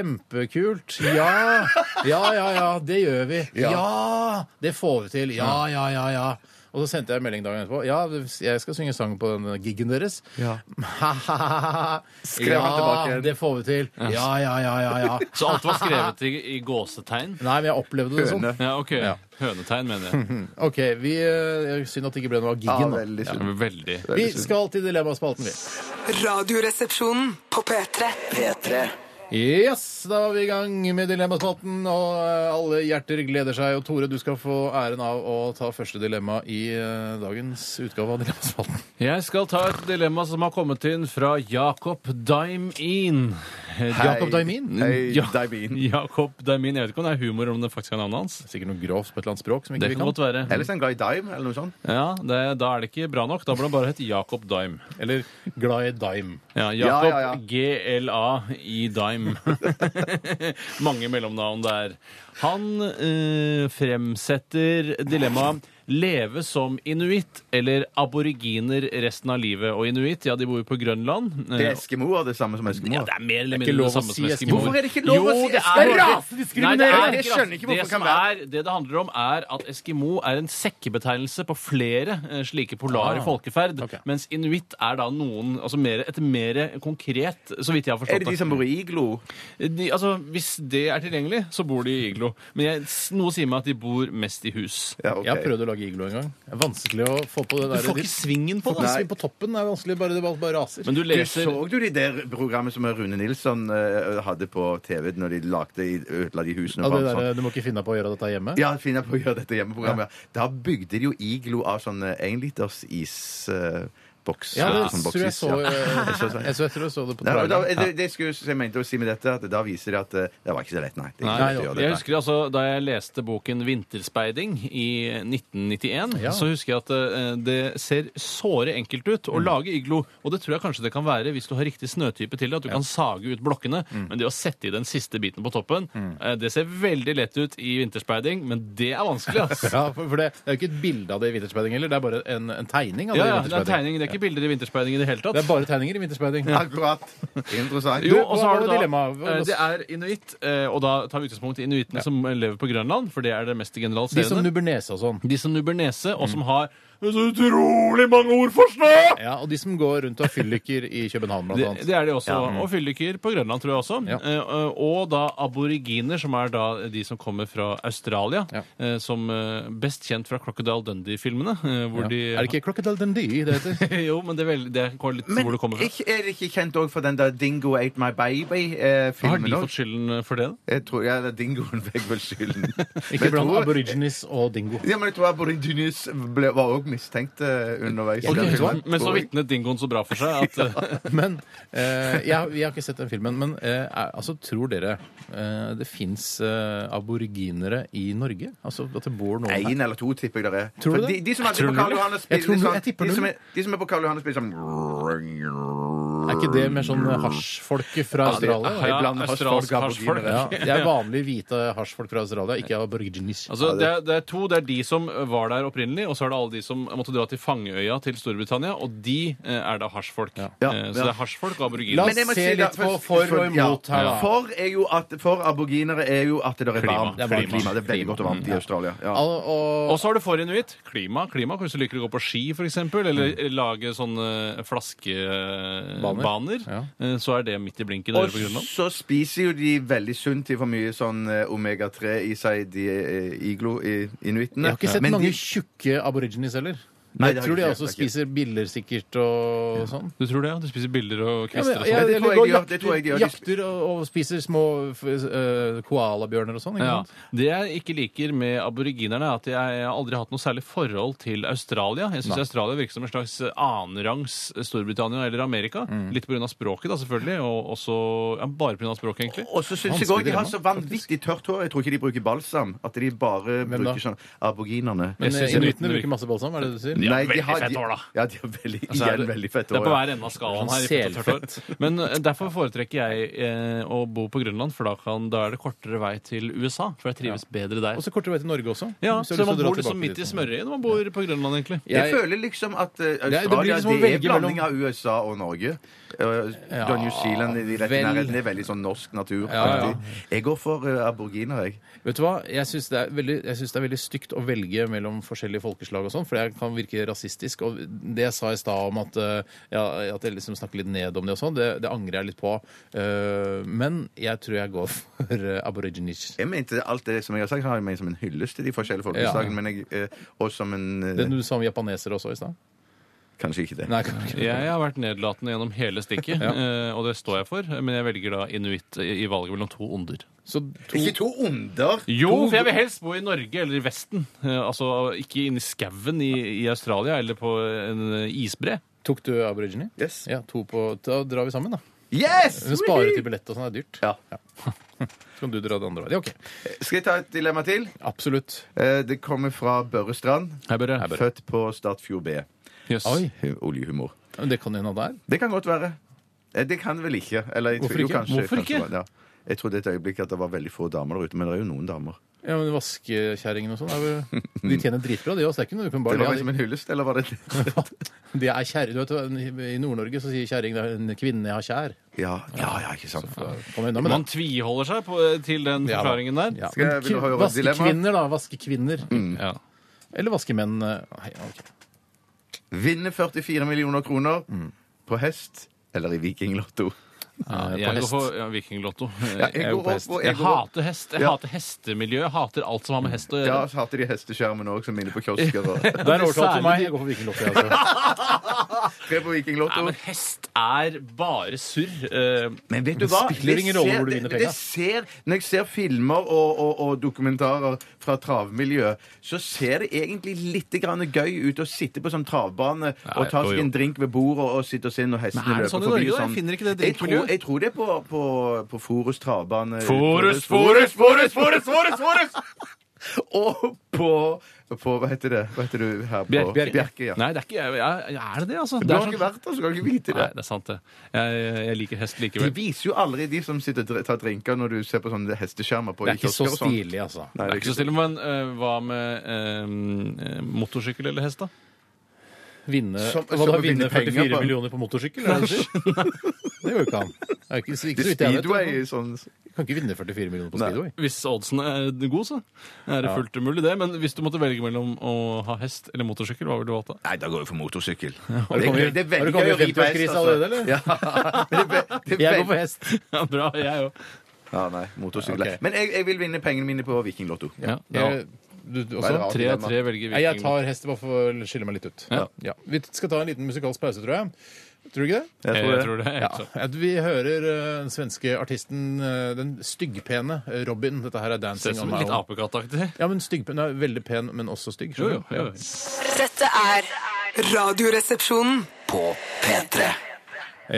kjempekult. Ja, ja, ja, ja, det gjør vi.
Ja.
Ja, det får vi til. Ja, ja, ja, ja. Og så sendte jeg melding dagen etterpå. Ja, jeg skal synge sang på den giggen deres.
Ja.
Ha-ha-ha.
Skrev han tilbake
Ja,
igjen.
det får vi til. Ja, ja, ja, ja, ja.
Så alt var skrevet i, i gåsetegn?
Nei, men jeg opplevde det sånn.
Høne.
Ja, ok.
Ja.
Hønetegn, mener [LAUGHS] jeg.
OK, vi eh, Synd at det ikke ble noe av
Ja,
giggen. da.
veldig synd.
Veldig.
Vi skal til Dilemmaspalten, vi.
Radioresepsjonen på P3.
P3
Yes, da var vi i gang med Dilemmaspalten, og eh, alle hjerter gleder seg. Og Tore, du skal få æren av å ta første dilemma i eh, dagens utgave av Dilemmaspalten.
Jeg skal ta et dilemma som har kommet inn fra Jakob Daim-In.
Jakob Daimin?
Hei,
Ja.
Daibin.
Jakob Daim-In. Jeg vet ikke om det er humor, om det faktisk er navnet hans.
Sikkert noe grovt på et eller annet språk som ikke
Det
vi
kan
kan.
godt være.
Ellers en glad i dime, eller noe sånt.
Ja, det, Da er det ikke bra nok. Da burde han bare hett Jakob Daim.
Eller glad i dime.
Ja,
Ja, ja, ja.
Jakob GLA i Dime. [LAUGHS] Mange mellomnavn der. Han eh, fremsetter dilemmaet leve som inuitt eller aboriginer resten av livet. Og inuitt, ja, de bor jo på Grønland. Eh,
Det er Eskimoer, det samme som
ja,
Eskimoer.
det er mer eller
Det er
mindre
ikke lov
det samme
å si
som
Eskimo.
Eskimo.
Hvorfor er det ikke lov å si Eskimo? Det er
Nei, det er
Jeg
ikke
skjønner ikke hvorfor
det
det kan
som er, Det det handler om, er at Eskimo er en sekkebetegnelse på flere eh, slike polare
Ah,
folkeferd,
ok.
mens inuitt er da noen altså mer, et mer konkret, så vidt jeg har
Er
forstått
det de som bor i iglo?
de, altså, Hvis det er tilgjengelig, så bor de i iglo. Men jeg, s- noe sier meg at de bor mest i hus.
Ja, ok.
Jeg har prøvd å lage iglo en gang. Det er vanskelig å få på det
Du
der.
får ikke svingen på det.
Nei.
Sving på toppen er vanskelig, bare det bare, bare raser.
Men du
Du
leser
så jo de der programmet som Rune Nilsson eh, hadde på TV når de lagde i- ødela de husene.
ja,
for
det
ham sånn.
der, du må ikke finne på å gjøre dette hjemme.
Ja, finner på å gjøre dette hjemmeprogrammet. Da bygde de jo iglo av sånn énliters isboks.
Ja, det
sånn
tror jeg
boksis,
så,
ja. [LAUGHS]
eh,
Jeg så sånn.
jeg så- jeg tror jeg så det på
Nei, men da,
traileren.
det, det skulle, som jeg mente å si med dette, at da viser det at eh, det var ikke så lett, nei. Det er ikke lett
Nei,
å gjøre
jeg
dette.
husker altså, Da jeg leste boken 'Vinterspeiding' i 1991,
Ja.
så husker jeg at eh, det ser såre enkelt ut
Mm.
å lage iglo. Og det tror jeg kanskje det kan være hvis du har riktig snøtype til det. At du kan sage ut blokkene.
Mm.
Men det å sette i den siste biten på toppen, eh, det ser veldig lett ut i vinterspeiding, men det er vanskelig, ass.
[LAUGHS] Ja, for, for det, det er jo ikke et bilde av det i vinterspeiding heller, det er bare en, en tegning av
Ja,
det i
ja, det er
vinterspeiding.
tegning. Det er ikke bilder i vinterspeiding i det hele tatt.
Det er bare tegninger i vinterspeiding.
Akkurat.
[LAUGHS]
Interessant.
Jo,
Du,
og så
hva
har
var
du
det
da,
dilemmaet?
eh, Det er inuitt, eh, og da tar vi utgangspunkt i inuittene som lever på Grønland, for det er det mest
De som
generaliserende.
nubber nese og sånn.
De som nubber nese, og
Mm.
som har så utrolig mange ord for snø!
Ja, Og de som går rundt og har fylliker i København, blant
Det,
annet. mm.
det er de også. Og fylliker på Grønland, tror jeg også.
Ja.
Eh, eh, og da aboriginer, som er da de som kommer fra Australia.
Ja.
eh, som eh, best kjent fra Crocodile Dundee-filmene. eh, hvor
Ja.
de
Er det ikke Crocodile Dundee
[LAUGHS]
det heter?
Jo, men det er, vel, det er litt
Men
hvor det kommer fra.
ikke- er det ikke kjent òg for den der 'Dingo ate my
Har de
baby'-filmen?
fått skylden for det? da?
jeg tror ja, det er Dingoen [LAUGHS] fikk vel skylden. Men
Ikke
jeg
blant
tror-
aborigines og dingo.
Ja, men jeg tror Aborigines ble, var også mistenkte underveis. i
Ok,
den
vet du hva?
filmen.
Men så vitnet dingoen så bra for seg at
[LAUGHS]
eh,
[LAUGHS] Men eh, jeg, har- jeg har ikke sett den filmen. Men eh, er- altså, tror dere eh, det fins eh, aboriginere i Norge? Altså at det bor noen her?
Én eller to tipper jeg det er.
Tror du
For
det?
De, de som er
Tror
på
du
Karl
det?
Johan og
Jeg tror
spiller
null,
sånn
jeg tipper
de som,
null.
er, de som er på Karl Johan og spiller sånn
Er ikke det mer sånn hasjfolket fra
det-
Australia?
ja,
Iblant
australsk hasjfolk.
hasjfolk, aboriginere. Ja, det er vanlige hvite hasjfolk fra Australia, ikke aborigines.
Altså, det, er, det er to. Det er de som eh, var der opprinnelig, og så er det alle de som måtte dra til fangeøya til Storbritannia, og de eh, er da hasjfolk.
Ja.
Eh, Så det er hasjfolk og
La
aboriginer.
oss
Men jeg må
se
si da,
litt på for og imot her, da.
For, er jo at, for aboginere er jo at det er
Klima.
varmt.
Det er
for
varmt.
klima. Det er veldig godt og varmt i Australia. Ja.
Al- og-
Og så har du for inuitt. Klima. klima. Kanskje du liker å gå på ski, f.eks. Eller lage sånne
Baner.
flaskebaner.
Ja.
Eh, Så er det midt i blinken å
Og
gjøre på Grønland.
så spiser jo de veldig sunt. De får mye sånn eh, omega-3 i seg, de eh, iglo-inuittene.
Jeg har ikke sett mange tjukke aborigines heller.
Nei,
jeg
det har
tror de
jeg ikke,
også
det har jeg ikke.
spiser biller sikkert og sånn.
Du tror det? ja? Du spiser biller og
Ja,
kvister og
ja,
sånn?
det tror jeg
går
de gjør, det tror jeg de gjør. De
jakter og, og spiser små f- eh, koalabjørner og sånn. ikke
Ja.
sant?
Det jeg ikke liker med aboriginerne, er at jeg har aldri hatt noe særlig forhold til Australia. Jeg syns Australia virker som en slags annenrangs Storbritannia eller Amerika.
Mm.
Litt pga. språket, da, selvfølgelig, og også ja, bare pga. språket, egentlig.
Og så syns jeg òg
Vanskelig
de har så
dilemma,
vanvittig tørt hår. Jeg tror ikke de bruker balsam. At de bare
da?
bruker sånn aboginerne.
Jeg
Men
synes
eh,
det-
inuittene bruker masse balsam, er det det du sier?
Nei,
veldig fett hår, da.
Ja, de har veldig,
Så
Altså,
er
igjen veldig fett
det er
hår.
på
ja.
hver ende av skalaen her. i
Sånn
fett og tørt hår. Men eh, derfor foretrekker jeg eh, å bo på Grønland, for da, kan, da er det kortere vei til USA. For jeg trives bedre der.
Og så kortere vei til Norge også.
Ja,
Hvis du
så
har lyst til å
man
dra
bor liksom
tilbake
midt i
dit.
smørøyet når man bor på Grønland, egentlig.
Jeg
Jeg-
føler liksom at eh,
det blir
Australia
liksom å
det er
velge
blanding
mellom-
av USA og Norge. Uh,
Ja,
New Zealand i de rette
vel.
nærheten er veldig sånn norsk natur.
Ja, ja.
Jeg går for eh, aboriginer, jeg.
Vet du hva? Jeg syns det, er veldig- jeg synes det er veldig stygt å velge mellom forskjellige folkeslag og sånn, for det kan virke rasistisk. Og det jeg sa i stad om at, eh, ja, at jeg liksom snakker litt ned om det og sånn, det, det angrer jeg litt på. Eh, Men jeg tror jeg går for eh, aborigines.
Jeg mente alt det som jeg har sagt, har jeg ment som en hyllest til de forskjellige folkeslagene,
Ja.
men jeg, eh, og som en eh,
Det du sa om japanesere også i stad?
Kanskje ikke det.
Nei, kan ikke.
Jeg har vært nedlatende gjennom hele stikket, eh, og det står jeg for. Men jeg velger da inuitt i i valget mellom to onder.
Så to
Ikke to onder!
Jo, for jeg vil helst bo i Norge eller i Vesten. Eh, altså ikke inni skauen i, i Australia eller på en eh, isbre.
Tok du aborigine?
Yes.
Ja, to på, da drar vi sammen, da.
Yes!
Men Sparer til billett og sånn, det er dyrt.
Ja.
Så kan du dra det andre veien. Ja, OK.
Skal jeg ta et dilemma til?
Absolutt.
Eh, Det kommer fra Børre Strand,
Her bør jeg.
født på Stadfjord B.
Yes.
Oi.
Hu- Oljehumor.
Men Det kan jo hende det er.
Det kan godt være. Eh, Det kan vel ikke. Eller, jeg tror-
Hvorfor ikke?
Jo, kanskje,
Hvorfor
kanskje
ikke?
det var- ja. Jeg trodde et øyeblikk at det var veldig få damer der ute, men det er jo noen damer.
Ja, men Vaskekjerringene og sånn er [LAUGHS] vel- De tjener dritbra, de også. Det er ikke noe du kan bare
Det var
le av
liksom en hyllest, eller var det
de. de er kjære, du vet, hva, I Nord-Norge så sier kjerring det er en kvinne jeg har kjær.
Ja, ja, ja ikke sant.
Kom unna med
Man
det.
tviholder seg på, eh, til den
Ja da.
forklaringen der.
Ja.
Skal jeg- vil du høre et Mm.
Vaskekvinner, da. Vaskekvinner.
Ja.
Eller vaskemenn. eh, Hei, ok.
Vinne 44 millioner kroner på hest eller i Vikinglotto.
Eh, på
Jeg går
hest.
for ja, vikinglotto.
Ja,
jeg
jeg går opp, og jeg
jeg
går opp.
hater hest. Jeg
Ja.
hater hestemiljø. Jeg hater alt som har med hest å gjøre.
Ja, så hadde de hesteskjermen òg, som inne på kiosker.
[LAUGHS]
Og...
Der overtalte
Særlig
du meg.
de-
Jeg går for vikinglotto. jeg, Altså.
Tre på
Nei,
Vikinglotto.
men hest er bare surr. Eh,
Men vet du hva?
spiller
Det
ingen rolle
ser-
hvor du vinner
det- det ser- Når jeg ser filmer og, og, og dokumentarer fra travmiljøet, så ser det egentlig litt grann gøy ut å sitte på sånn travbane og ta
jo,
seg
jo.
en drink ved bordet og sitte og se når hestene
Men er det
løper
sånn
forbi.
i Norge,
og
da? Jeg finner ikke det
jeg tror,
drinkmiljøet.
jeg tror det er på, på, på Forus travbane.
Forus, Forus,
Forus, Forus, Forus!
[LAUGHS]
Forus! og på, på Hva heter det Hva heter du her på
Bjerke.
Bjerke ja.
Nei, det er ikke jeg, jeg, Er det det, altså?
Du
Det er
har
sånn-
ikke vært der, så kan du ikke vite det.
Nei, det er sant, det. Jeg, jeg liker hest
De
likevel.
viser jo aldri de som sitter og dr- tar drinker når du ser på sånne hesteskjermer på
Det er ikke så
kiosker og sånn.
stilig, altså.
Nei,
Det er ikke så stille, men eh, hva med eh, eh, motorsykkel eller [LAUGHS] hest, da?
Vinne,
Som-
hva
som
da,
å
vinne
vinne penger
44
på-
millioner på motorsykkel?
[LAUGHS]
Er det, det, du sier? det går jo ikke an. Det er ikke, ikke så vidt jeg vet.
Speedway sånn
Du kan ikke vinne 44 millioner på
Nei.
speedway.
Hvis oddsen er god, så er det fullt mulig, det. Men hvis du måtte velge mellom å ha hest eller motorsykkel, hva ville du valgt da? [LAUGHS]
Nei, da går jeg for motorsykkel.
Har du kommet- har du kommet i
altså.
50-årskrisa allerede, eller? Jeg går for hest.
Ja, bra, jeg òg.
Ja, nei, motorsykkel.
Ok.
Men jeg, jeg vil vinne pengene mine på Vikinglotto.
Ja.
Jeg- Du, du
Hva er det
også?
rart?
Tre av tre velger
Nei, jeg
viking.
tar hest bare for å skille meg litt ut. Ja. Vi skal ta en liten musikalsk pause, tror jeg. Tror du ikke det?
Jeg tror
Jeg
det.
tror det.
Ja, at vi hører eh, den svenske artisten, eh, den styggpene eh, Robin. Dette her er
Ser
'Dancing
ut
on
som
my
litt
own'.
apekattaktig.
Ja, men styggpen er veldig pen, men også stygg.
Jo,
skjønner
jo,
du?
jo.
Dette er Radioresepsjonen.
På P3.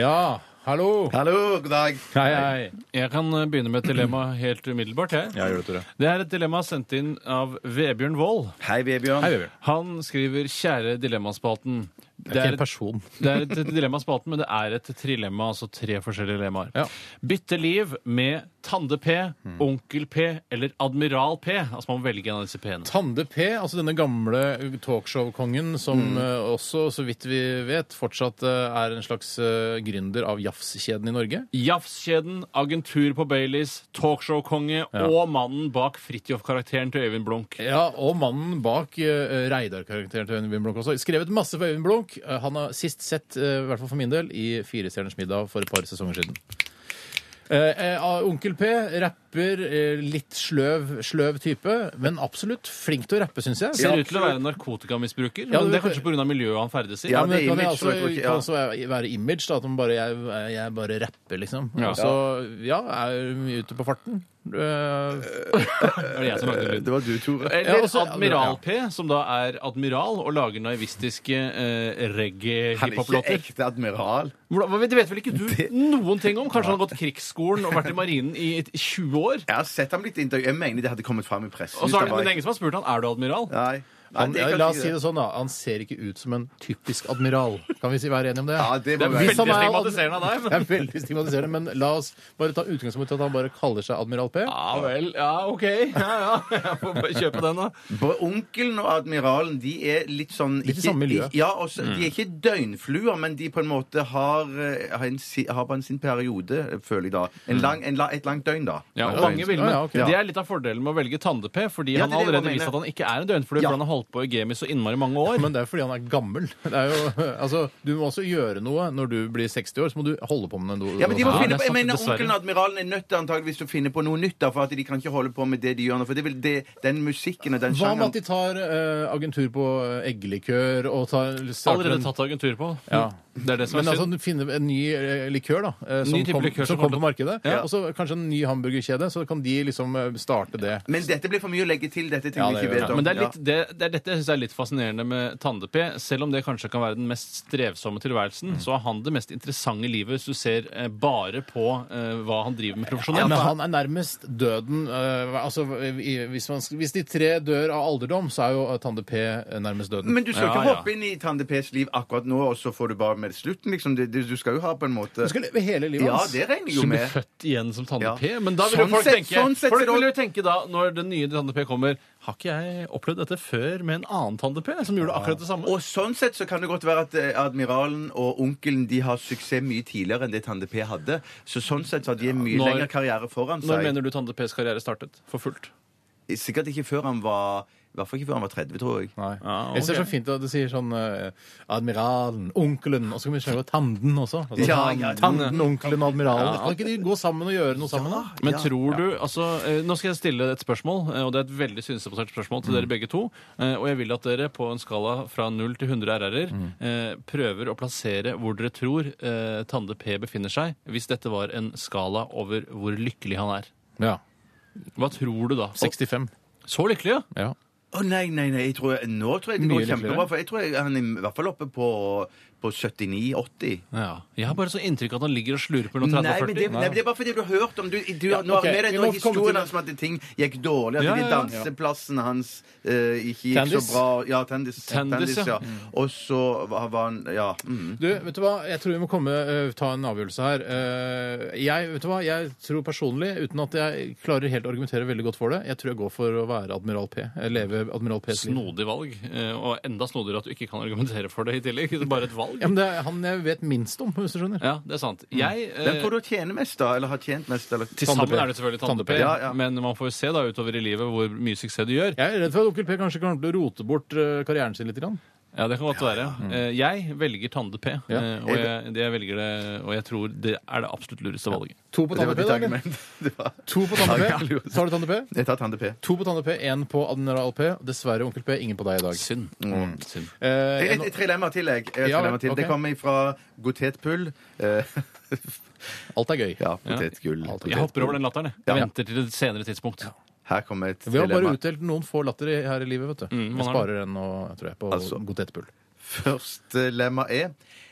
Ja, hallo!
Hallo, god dag.
Hei, hei.
Jeg kan eh, begynne med et dilemma helt umiddelbart. Jeg.
gjør det, Tore.
Det er et dilemma sendt inn av Vebjørn Wold.
Hei, Vebjørn.
Hei, Vebjørn.
Han skriver 'Kjære Dilemmaspalten'.
Det er en person.
Det er et dilemmaspalten, men det er et trilemma, altså tre forskjellige dilemmaer.
Ja. Mm.
Bytte liv med Tande-P, Onkel-P eller Admiral-P. Altså man må velge en av disse P-ene.
Tande P, altså denne gamle talkshow-kongen som
Mm.
eh, også, så vidt vi vet, fortsatt eh, er en slags eh, gründer av jafskjeden i Norge.
Jafskjeden, agentur på Baileys, talkshow-konge og mannen bak Fridtjof-karakteren til Øyvind Blunk.
Ja, og mannen bak eh, Reidar-karakteren til Øyvind Blunk også. Skrevet masse for Øyvind Blunk. Eh, han har sist sett, eh, i hvert fall for min del, i Firestjerners middag for et par sesonger siden. Eh, eh, Onkel P, rapper, eh, litt sløv, sløv type, men absolutt flink til å rappe, syns jeg.
Ser ut til å være narkotikamisbruker,
Ja,
men det
det-
er kanskje pga. miljøet han ferdes i.
Ja,
Ja, men
det
det
er
kan
image,
jo
så jeg tror
også,
ikke- ja.
kan også være- være image, da. At man bare jeg, jeg bare rapper, liksom.
Ja.
Og så ja, er mye ute på farten. Eh,
Det er det jeg som lagde lyden.
Det var du, Tore.
Eller
Ja, også-
Admiral P, som da er admiral og lager naivistiske eh,
Han er ikke
reggae-hiphop-låter.
ekte admiral.
Hvordan- hva vet- Det vet vel ikke du noen ting om? Kanskje han har gått krigsskolen og vært i marinen i et- 20 år?
Jeg har sett ham litt i intervju. Jeg mener det hadde kommet fram i pressen.
Og
hvis
så
han
er det, men
var
det er ingen som har spurt han, er du admiral.
Nei. Nei,
han,
Eh, det er
ja,
kanskje
la oss
ikke
si det sånn, da. Han ser ikke ut som en typisk admiral. Kan vi si være enige om det?
Ja, det
Det
må
er
være
veldig
Hvis han er adm-
stigmatiserende av deg.
Det
Men...
er veldig stigmatiserende, men la oss bare ta utgangspunkt i at han bare kaller seg Admiral P.
Ja vel. Ja, OK. Ja, ja. Jeg får bare kjøpe den, da.
Både onkelen og admiralen de er litt sånn
Litt i samme miljø.
Ja, og så-
Mm.
De er ikke døgnfluer, men de på en måte har, eh, har, en, si- har bare sin periode, føler jeg da. En lang, en, la- et langt døgn, da.
Mm. Ja,
Et
mange
døgn.
vil,
Ja,
men
ja, ok.
Det er litt av fordelen med å velge Tande-P, fordi
Ja,
han
det er
har
det jeg
allerede vist
mener.
at han ikke er en døgnflue,
Ja.
for han har holdt på i gamet så innmari mange år.
Men det er jo fordi han er gammel. Det er jo, altså, du må også gjøre noe når du blir 60 år. Så må du holde på med noe.
Ja, men de må
Ja,
finne
det
på,
er
jeg
sant,
mener
dessverre.
Onkelen og admiralen er nødt til antageligvis å finne på noe nytt, da, for at de kan ikke holde på med det de gjør nå. For det vil det, den musikken og den
Hva med
sjangeren
at de tar eh, agentur på eh, eggelikør og tar starter
Allerede
en-
tatt agentur på.
Ja.
Det er det som
Men
er synd.
altså, finne en ny eh, likør da, eh, som,
Ny type
kom,
likør
som
som
kom
kommer
på markedet,
Ja.
og så kanskje en ny hamburgerkjede, så kan de liksom eh, starte det.
Men dette blir for mye å legge til. Dette er ting
Ja,
vi
det
ikke
gjør
vet
det.
om.
Men det er,
Ja.
litt, det, det er dette jeg synes er litt fascinerende med Tande-P. Selv om det kanskje kan være den mest strevsomme tilværelsen,
Mm.
så har han det mest interessante livet hvis du ser eh, bare på eh, hva han driver med
men
profesjonelt.
han er nærmest døden. eh, altså, i, hvis, man, hvis de tre dør av alderdom, så er jo eh, Tande P nærmest døden.
Men du skal
Ja,
ikke
ja.
hoppe inn i Tande P's liv akkurat nå, og så får du bare med slutten, liksom. Det- Du, du skal jo ha på en måte
Du skal leve hele livet
Ja,
hans.
det regner jeg jo
Som blir
med.
født igjen som Tande-P.
Ja.
Men da vil jo
Sånn
folk
sett-
tenke,
sånn sett
folk
ser det
vil jo
også-
tenke da, når den nye Tande-P kommer Har ikke jeg opplevd dette før med en annen Tande-P som gjorde akkurat det samme?
Og sånn sett så kan det godt være at eh, admiralen og onkelen de har suksess mye tidligere enn det Tande P hadde. Så sånn sett så har de en mye
Når-
lengre karriere foran
Når
seg.
mener du Tande-Ps karriere startet? For fullt?
Sikkert ikke før han var I hvert fall ikke før han var 30, tror jeg.
Nei.
Ah,
Jeg ser
ok.
så fint at du sier sånn eh, Admiralen, onkelen, og så kan vi skrive Tanden også. Altså,
Ja, ja,
tanden, onkelen, admiralen. Kan ikke de gå sammen og gjøre noe sammen, da?
Men tror du, altså, eh, Nå skal jeg stille et spørsmål, eh, og det er et veldig synsebasert spørsmål til dere
Mm.
begge to. eh, Og jeg vil at dere på en skala fra 0 til 100 RR-er
Mm.
eh, prøver å plassere hvor dere tror eh, Tande P befinner seg, hvis dette var en skala over hvor lykkelig han er.
Ja.
Hva tror du da?
65.
Så lykkelig, ja?
Ja.
Å nei, nei, nei. Jeg tror, nå tror jeg det
Mye
går kjempebra.
lykkeligere.
For jeg tror jeg, han er i hvert fall oppe på, på 79-80.
ja. Jeg har bare så inntrykk av at han ligger og slurper
Nei,
noen
men det,
30-40.
nei, men det er bare fordi du har hørt om Du, du
Ja,
nå har
ok,
med deg nå
vi må komme til
historien
det.
hans om at ting gikk dårlig, at
Ja,
de
ja, ja.
danseplassene hans eh, ikke gikk
Tandis?
så bra. Ja, Tandis.
Tandis,
Tandis,
ja.
ja. Og så var var han Ja. Mm.
Du, vet du hva? Jeg tror vi må komme, eh, ta en avgjørelse her. Eh, jeg, vet du hva? jeg tror personlig, uten at jeg klarer helt å argumentere veldig godt for det, jeg tror jeg går for å være Admiral P. eh, Leve Admiral P.
Snodig valg. eh, Og enda snodigere at du ikke kan argumentere for det i tillegg. [LAUGHS] Det er bare et valg.
Ja, men det er han jeg vet minst om, hvis du skjønner.
Ja, det er sant. Jeg, eh,
Mm. Hvem tror du tjener mest, da? Eller har tjent mest? Eller?
Til
Tande-P.
sammen er det selvfølgelig Tande-P,
Tande-P,
ja, ja.
men man får jo se da utover i livet hvor mye suksess de gjør.
Jeg er redd for at onkel P kanskje kommer til å rote bort eh, karrieren sin litt. Grann.
Ja, det kan godt være. Eh, Jeg velger Tande P,
Ja.
eh, og jeg, det jeg velger det, og jeg tror det er det absolutt lureste valget.
To på
Det var
Tande P,
ditt
da? eller?
argument. [LAUGHS] Det var-
To på
Ja,
Tande
det
P?
var-
Tar du Tande P?
Jeg tar Tande P.
To på Tande P, én på Admiral P. Dessverre, Onkel P, ingen på deg i dag.
Synd. Mm. Synd.
Eh,
Et,
en-
et trilemma til, jeg. Et
Ja,
trilemma til.
ok.
Det kommer fra Gotetpull. Eh,
alt er gøy.
ja, potetgull.
Jeg hopper over den latteren. jeg.
Ja.
Jeg venter til et senere tidspunkt.
Her kommer et
Vi har bare
dilemma.
utdelt noen få latter i- her i livet, vet du.
Mm, man
jeg
har
sparer en nå, tror jeg, på
Altså.
godt etterpull.
Første eh, lemma E.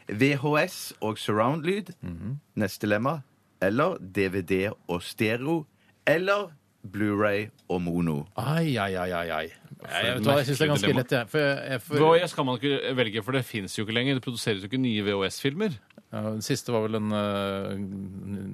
er VHS og surround-lyd. Mhm. Neste lemma eller DVD og stereo. Eller Blu-ray og mono.
Ai, ai, ai, ai, ai. Jeg, vet du hva, jeg syns det er ganske
Merkelig
lett, jeg. For jeg, jeg for,
VHS kan man ikke velge, for det fins jo ikke lenger. Det produseres jo ikke nye VHS-filmer.
Ja, den siste var vel den uh,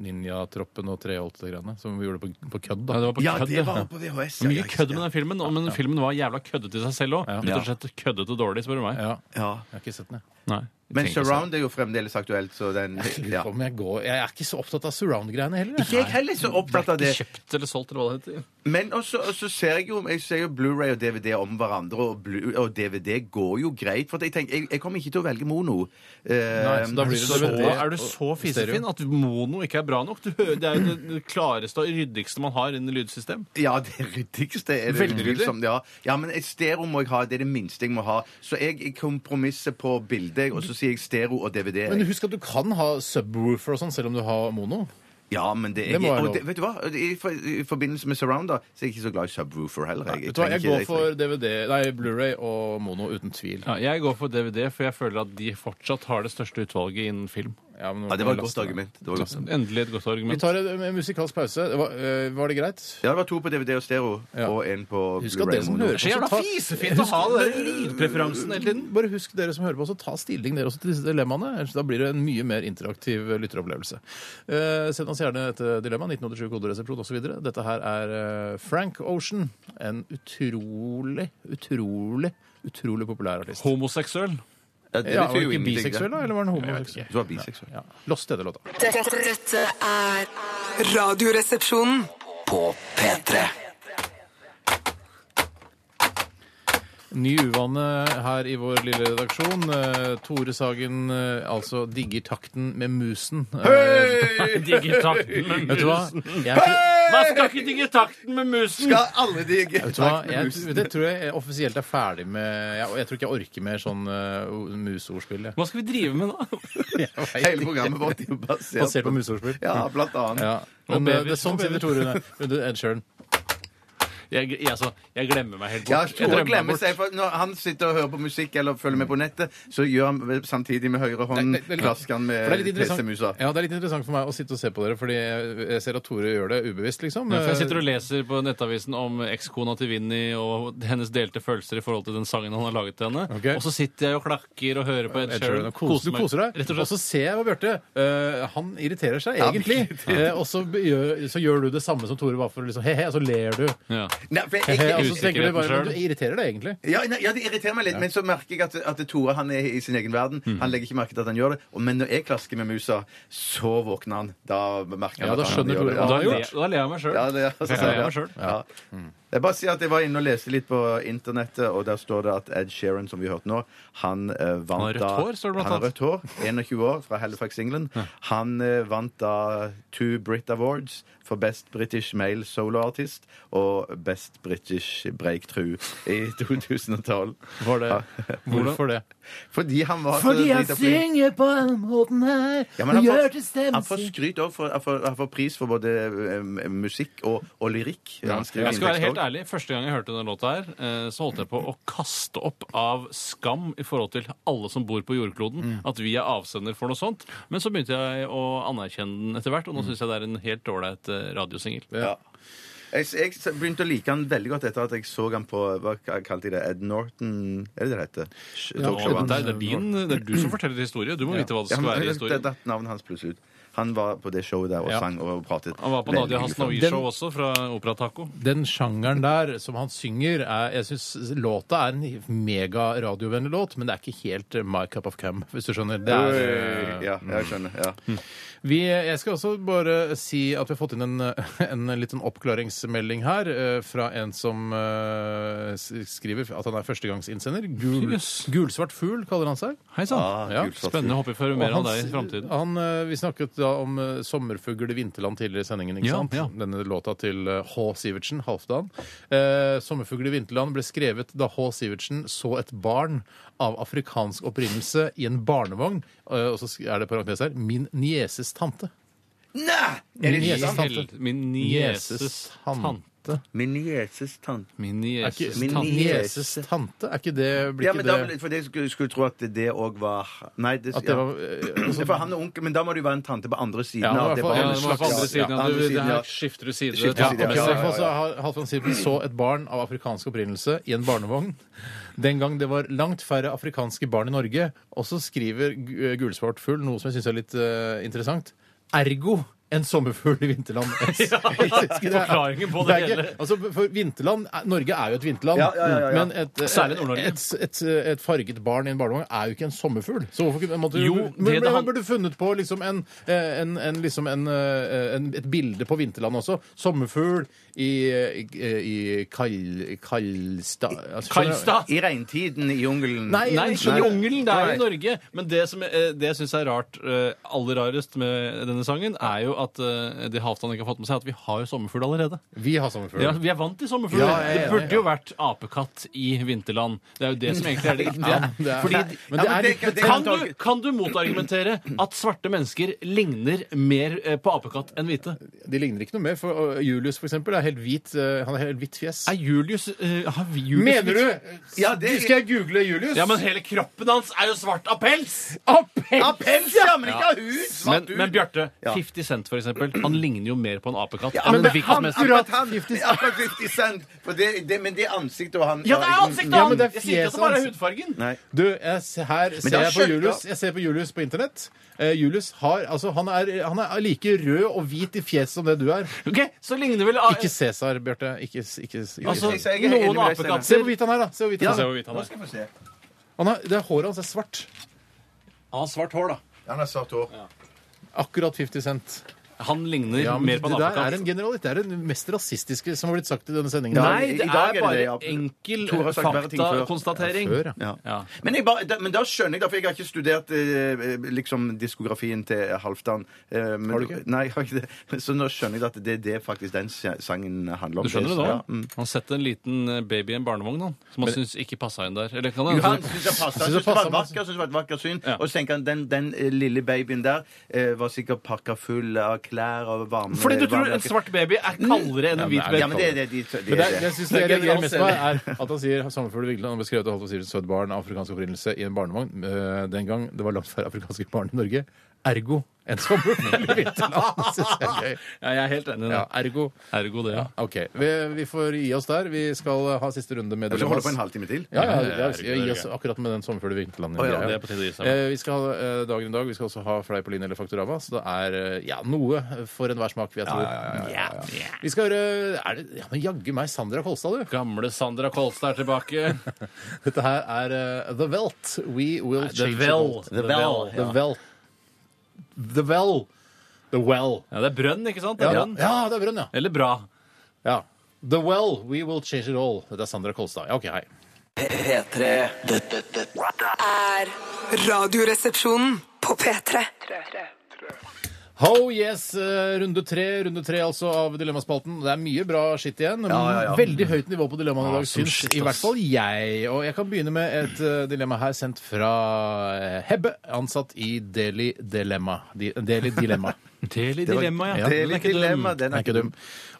ninjatroppen og treholt og greiene som vi gjorde på, på kødd. da.
Ja, det var på
Ja,
kødd,
det var
ja.
på VHS.
Det var Mye kødd med den filmen, og- men filmen var jævla køddete i seg selv òg. Rett
Ja.
og slett køddete dårlig, spør du meg.
Ja,
Ja.
jeg har ikke sett den, jeg.
Nei,
Men
trenger ikke
surround er jo fremdeles aktuelt, så den ja.
Om jeg, går, jeg er ikke så opptatt av surround-greiene heller. jeg.
Ikke jeg heller så opptatt av
se.
det.
Kjøpt eller solgt, eller hva det heter.
Men også, og så ser jeg jo, jeg ser jo Blu-ray og DVD om hverandre, og, Blu og DVD går jo greit. For at jeg tenker, jeg, jeg kommer ikke til å velge mono. Eh,
Nei, så da blir det
Så,
DVD
er du
og
så
stereo.
fisefin at mono ikke er bra nok? Du hører, det er jo det- det klareste og ryddigste man har innen lydsystem.
Ja, det ryddigste er det
Veldig ryddig.
utvilsomt. Ja. ja, men et stereo må jeg ha. Det er det minste jeg må ha. Så jeg kompromisser på bildet, og så sier jeg stereo og DVD.
Men husk at du kan ha subwoofer og sånn selv om du har mono.
Ja, men det er
Det må være
og
lov.
det, Vet du hva? I, for, I forbindelse med Surround da, så er jeg ikke så glad i subwoofer heller. Jeg,
Vet du hva,
trenger
Jeg
ikke- trenger-
går for DVD, nei, Blu-ray og mono uten tvil.
Ja, jeg går for DVD, for jeg føler at de fortsatt har det største utvalget innen film.
Ja, men nå
ja, Det
kan
var et
vi
godt
laste den.
argument. Det var, godt.
Endelig et godt
Vi
argument.
tar en, en musikalsk pause. Det Var, eh, var det greit?
Ja, det var to på DVD og stereo,
Ja.
og en på
Husk at
Blu-ray
det som
mono.
hører
Så jævla
Ta-
fisefint å ha den der lydpreferansen hele tiden.
Bare husk dere som hører på, så ta stilling dere også til disse dilemmaene. ellers Da blir det en mye mer interaktiv lytteropplevelse. Eh, send oss gjerne et eh, dilemma. 1987 koderesepsjon osv. Dette her er eh, Frank Ocean. En utrolig, utrolig, utrolig populær artist.
Homoseksuell.
Ja, det
Ja,
betyr jo
var det ikke
ingenting, det.
biseksuell, da? Eller var han
Jeg
homoseksuell?
tror han var biseksuell. [LAUGHS]
Ja. Lost heter låta.
Dette, dette er Radioresepsjonen.
På P3.
Ny uvane her i vår lille redaksjon. Eh, Tore Sagen eh, altså digger takten med musen. Eh,
Digger takten med
Vet du hva?
musen.
Jeg, er ikke-
Man skal ikke digge takten med musen!
Skal alle digge
vet
[LAUGHS]
du hva? Jeg, det tror jeg offisielt er ferdig med jeg, jeg tror ikke jeg orker mer sånn uh, museordspill. jeg.
Hva skal vi drive med nå?
Hele programmet vårt er jo basert,
Basert på museordspill.
Ja, blant annet.
Ja.
Og
Men eh,
babyer.
det er sånn
Og
sitter
babyer.
Tore under- under Ed Sheeran.
Jeg, jeg, altså, jeg glemmer meg helt
Ja,
bort. Jeg
Tore
drømmer meg
glemmer
bort.
seg, for Når han sitter og hører på musikk eller følger med på nettet, så gjør han vel samtidig med høyre hånd
Det- det- det-
klasker han
for det er
med
litt interessant-
PC-musa.
Ja, det er litt interessant for meg å sitte og se på dere, fordi jeg- jeg ser at Tore gjør det ubevisst, liksom.
Ja, for jeg sitter og leser på nettavisen om ekskona til Vinni og hennes delte følelser i forhold til den sangen han har laget til henne.
Ok.
Og så sitter jeg og klakker og hører på Ed
Ed Sheeran
Sheeran.
og kos, du
meg.
koser deg.
Rett og
Og så
slett.
ser jeg på Bjarte. eh, han irriterer seg
Ja,
egentlig. Eh, og så, be- gjør, så gjør du det samme som Tore var for. Liksom, he-he, og så ler du.
Ja.
Nei, for
[LAUGHS]
jeg,
He-he,
jeg,
og så tenker du bare Men du irriterer deg egentlig.
ja, nei, ja, det irriterer meg litt, men så merker jeg at, at Tore han er i sin egen verden.
Mhm.
Han legger ikke merke til at han gjør det. Og- Men når jeg klasker med musa, så våkner han. Da merker han
Ja, da
at han
skjønner
gjør
Tore hva
Da,
har
det.
han
le,
gjort?
da ler jeg meg sjøl.
Ja, det er
jeg ler meg sjøl.
Ja. Jeg bare sier at jeg var inne og leste litt på internettet, og der står det at Ed Sheeran, som vi hørte nå, han eh, vant
har rødt
da-
hår, står det blant
Han har rødt hår, 21 år, fra Halifax, England. Han eh, vant da two Brit Awards for Best British Male Solo Artist og Best British Breakthrough i [LAUGHS] 2012.
Var det, [LAUGHS] hvorfor det?
Fordi han var Fordi han synger på den måten her og gjør til stemme Han får skryt òg, for han får- han får pris for både eh, musikk og, og lyrikk. Han skriver
Jeg skal være
inntekst
helt
også.
ærlig, Første gang jeg hørte denne låta, her, eh, så holdt jeg på å kaste opp av skam i forhold til alle som bor på
Mm.
jordkloden, at vi er avsender for noe sånt. Men så begynte jeg å anerkjenne den etter hvert,
Mm.
og nå syns jeg det er en helt ålreit eh, radiosingel.
Ja. Jeg, jeg s- begynte å like han veldig godt etter at jeg så han på hva k- kalte de det, Ed Norton Er det det det heter? Sh-
Nå,
talkshowet
Det,
hans.
er- det, er din, det er du som forteller historie. Du må vite hva det
Ja,
skal
men
være i
det
historien.
datt navnet hans plutselig ut. Han var på det showet der og
Ja.
sang og pratet.
Han var på
veldig
Nadia
hyggelig.
Hasnaoui-show også, fra Opera Taco.
Den sjangeren der som han synger, er, jeg syns låta er en megaradiovennlig låt, men det er ikke helt eh, my cup of cam, hvis du skjønner. Det er, eh,
Ja, jeg skjønner. Ja.
mm.
Vi, jeg skal også bare si at vi har fått inn en, [LAUGHS] en liten oppklaringsmelding her eh, fra en som eh, s- skriver at han er førstegangsinnsender. Gul,
Yes.
gulsvart fugl kaller han seg.
Hei sann.
Ah,
Ja,
gult, satt
Spennende.
gult.
Håper vi får høre mer
Og
av deg
han
i
s-
ah,
framtiden.
han, eh, vi snakket da om eh, sommerfugl i vinterland tidligere i sendingen. ikke
Ja,
sant?
ja.
Denne låta til eh, H. Sivertsen, Halvdan. Eh, 'Sommerfugl i vinterland' ble skrevet da H. Sivertsen så et barn av afrikansk opprinnelse i en barnevogn. Eh, og så sk- er det parentes her 'Min nieses tante'.
Nei! Er
Min
det
nieses
sant?
tante.
Hel- Min nieses tante.
Min nieses tante.
Min
Er ikke,
nieses
Min
tante.
tante.
nieses tante? Er ikke det blir
Ja,
ikke
men da,
det,
for jeg skulle, skulle tro at det òg var Nei, det,
At det var eh, altså,
ja. For han er onkel, men da må det jo være en tante på andre siden.
Ja, i
av
hvert
det
fall-
Ja,
barnet.
det var på andre
Ja,
siden. Ja,
andre
du, det
siden,
her
ja.
skifter du side.
Skifter
Ja,
side,
ja,
ok,
men i
ja,
så-
ja.
hvert fall så har Halvdan Sivertsen så et barn av afrikansk opprinnelse i en barnevogn. Den gang det var langt færre afrikanske barn i Norge. Og så skriver Gu- eh, Gulsvart Fugl noe som jeg syns er litt eh, interessant. Ergo en sommerfugl i
[LAUGHS]
vinterland.
forklaringen på det
er ikke-
hele.
Altså, for vinterland, er- Norge er jo et vinterland,
Ja, ja, ja, ja.
men et, eh,
Særlig Nord-Norge.
et, et, et farget barn i en barnevogn er jo ikke en sommerfugl. Så hvorfor kunne måtte,
Jo,
men,
det
men,
det han-
men burde funnet på liksom en, eh, en, en, liksom en, eh, en, et bilde på vinterland også. Sommerfugl i, i, i Kal, Kalstad altså, skjønner-
Kalstad!
I regntiden i jungelen.
Nei,
Nei,
Nei,
ikke jungelen. Det er jo
Nei.
i Norge. Men det som eh, det jeg syns er rart, eh, aller rarest med denne sangen, er jo at eh, det Halvdan ikke har fått med seg, er at vi har jo sommerfugl allerede.
Vi har sommerfugl.
Ja, vi er vant til sommerfugler.
Ja, jeg er
det
enig,
burde jo vært apekatt i vinterland. Det er jo det som egentlig er det
Ja,
riktige.
det er-
Fordi
men
Ja,
det
men
er
det
litt
kan- det
kan du, kan du motargumentere at svarte mennesker ligner mer eh, på apekatt enn hvite?
De ligner ikke noe mer. For uh, Julius for eksempel, er helt hvit. uh, Han har helt hvitt fjes.
Er Julius, eh, har vi Julius
Mener du?
Ja, det-
Skal jeg google Julius?
Ja, men hele kroppen hans er jo svart av pels!
Appell!
Av pels, ja, men ikke av hud!
Men,
svart hud.
men Bjarte,
Ja.
50 Cent for eksempel, han ligner jo mer på en apekatt
Ja,
enn
men
en
det-
hvilken
han,
som helst.
akkurat han,
50
ja, akkurat 50 Cent. For det, det, men det er ansiktet og han
Ja, det er ansiktet
Ja,
hans!
men det er
Jeg sier ikke at det
fjeset
bare er
hans.
hudfargen.
Nei.
Du, jeg, ser- her ser
det er
jeg, på
skjørt,
Julius,
da.
jeg ser på Julius på internett. Eh, Julius har, altså, han, er, han er like rød og hvit i fjeset som det du er.
Ok, Så ligner vel
Ikke Cæsar, Bjarte. Ikke, ikke, ikke.
Altså,
Jeg- jeg- jeg er enig
noen
med deg, Steinar.
Se hvor
apekatter
hvit han er, da. Se hvor hvit han
Se
er.
hvor hvit han
Nå
er.
skal vi få se.
Han har, det er Håret hans er svart.
Han har svart hår, da.
Han har svart hår.
Akkurat 50 Cent.
Han ligner
Ja, men
mer
det
på en
der er en
apekatt.
generalitet. Det er den mest rasistiske som har blitt sagt i denne sendingen.
Ja,
Nei,
i-
det
i dag er
er
det det, ja.
bare enkel
Tore har sagt verre ting før.
faktakonstatering.
Før, ja.
Ja.
Ja.
Men, jeg bare, da, men da skjønner jeg det, for jeg har ikke studert eh, liksom diskografien til Halvdan. Eh, men,
Har du ikke?
Nei, jeg har ikke det. Så nå skjønner jeg at det er det faktisk den sangen handler om.
Du skjønner det
Ja,
da?
mm.
Han setter en liten eh, baby i en barnevogn han, som han syns ikke passa inn der. Eller kan
Jo,
det
Han syntes det passet. Han
Synes det
syntes det var
passet,
vakker, syntes det var et vakkert syn.
Ja.
Og så tenker han den, den eh, lille babyen der eh, var sikkert pakka full av klær og varme
Fordi du tror
varme-
en svart baby er kaldere enn en hvit
Ja, men
baby?
det er det de det
Men det,
er
det
det.
jeg synes det jeg
Det er
reagerer mest på,
general
er at han sier Sommerfugl i Vigeland har beskrevet at Halvdan Sivertsen så et barn av afrikansk opprinnelse i en barnevogn eh, den gang det var langt færre afrikanske barn i Norge. Ergo en sommerfugl i vinterland. Synes jeg er gøy.
[LAUGHS] Ja, jeg er helt enig i det.
Ja, ergo.
Ergo det, ja.
OK. Vi, vi får gi oss der. Vi skal ha siste runde med
Vi skal holde på en
Dilemmas.
halvtime til.
Ja, ja, det er-
Ergo, ergo.
gi oss akkurat med den sommerfugl i vinterland.
ja,
greia.
det er på tide å gi seg.
Eh, vi skal ha eh, dagen i dag. Vi skal også ha Fleip og Line eller Faktorama. Så det er eh, ja, noe for enhver smak, vil jeg tro. Vi skal høre er det, ja, men Jaggu meg Sandra Kolstad, du. [LAUGHS]
Gamle Sandra Kolstad er tilbake.
Dette her er eh, The Welt. We Will
The
Change
Well.
The World.
The Well.
The Well. The Well. The Well.
Ja, det er brønn, ikke sant? Det
Ja,
er
ja.
brønn.
det er brønn, ja.
Eller bra.
ja. The Well, We Will Change It All. Dette er Sandra Kolstad. Ja, OK, hei.
P3 Dette dette
er Radioresepsjonen på P3.
Ho yes, eh, runde tre runde tre altså av Dilemmaspalten. Det er mye bra skitt igjen.
ja, ja.
Veldig høyt nivå på dilemmaene i dag,
som
syns
shit,
i hvert
ass.
fall jeg. Og jeg kan begynne med et eh, dilemma her sendt fra eh, Hebbe, ansatt i Deli Dilemma. Di, Deli Dilemma.
Teli dilemma, ja.
Det er litt dilemma. Den
Den er ikke dum.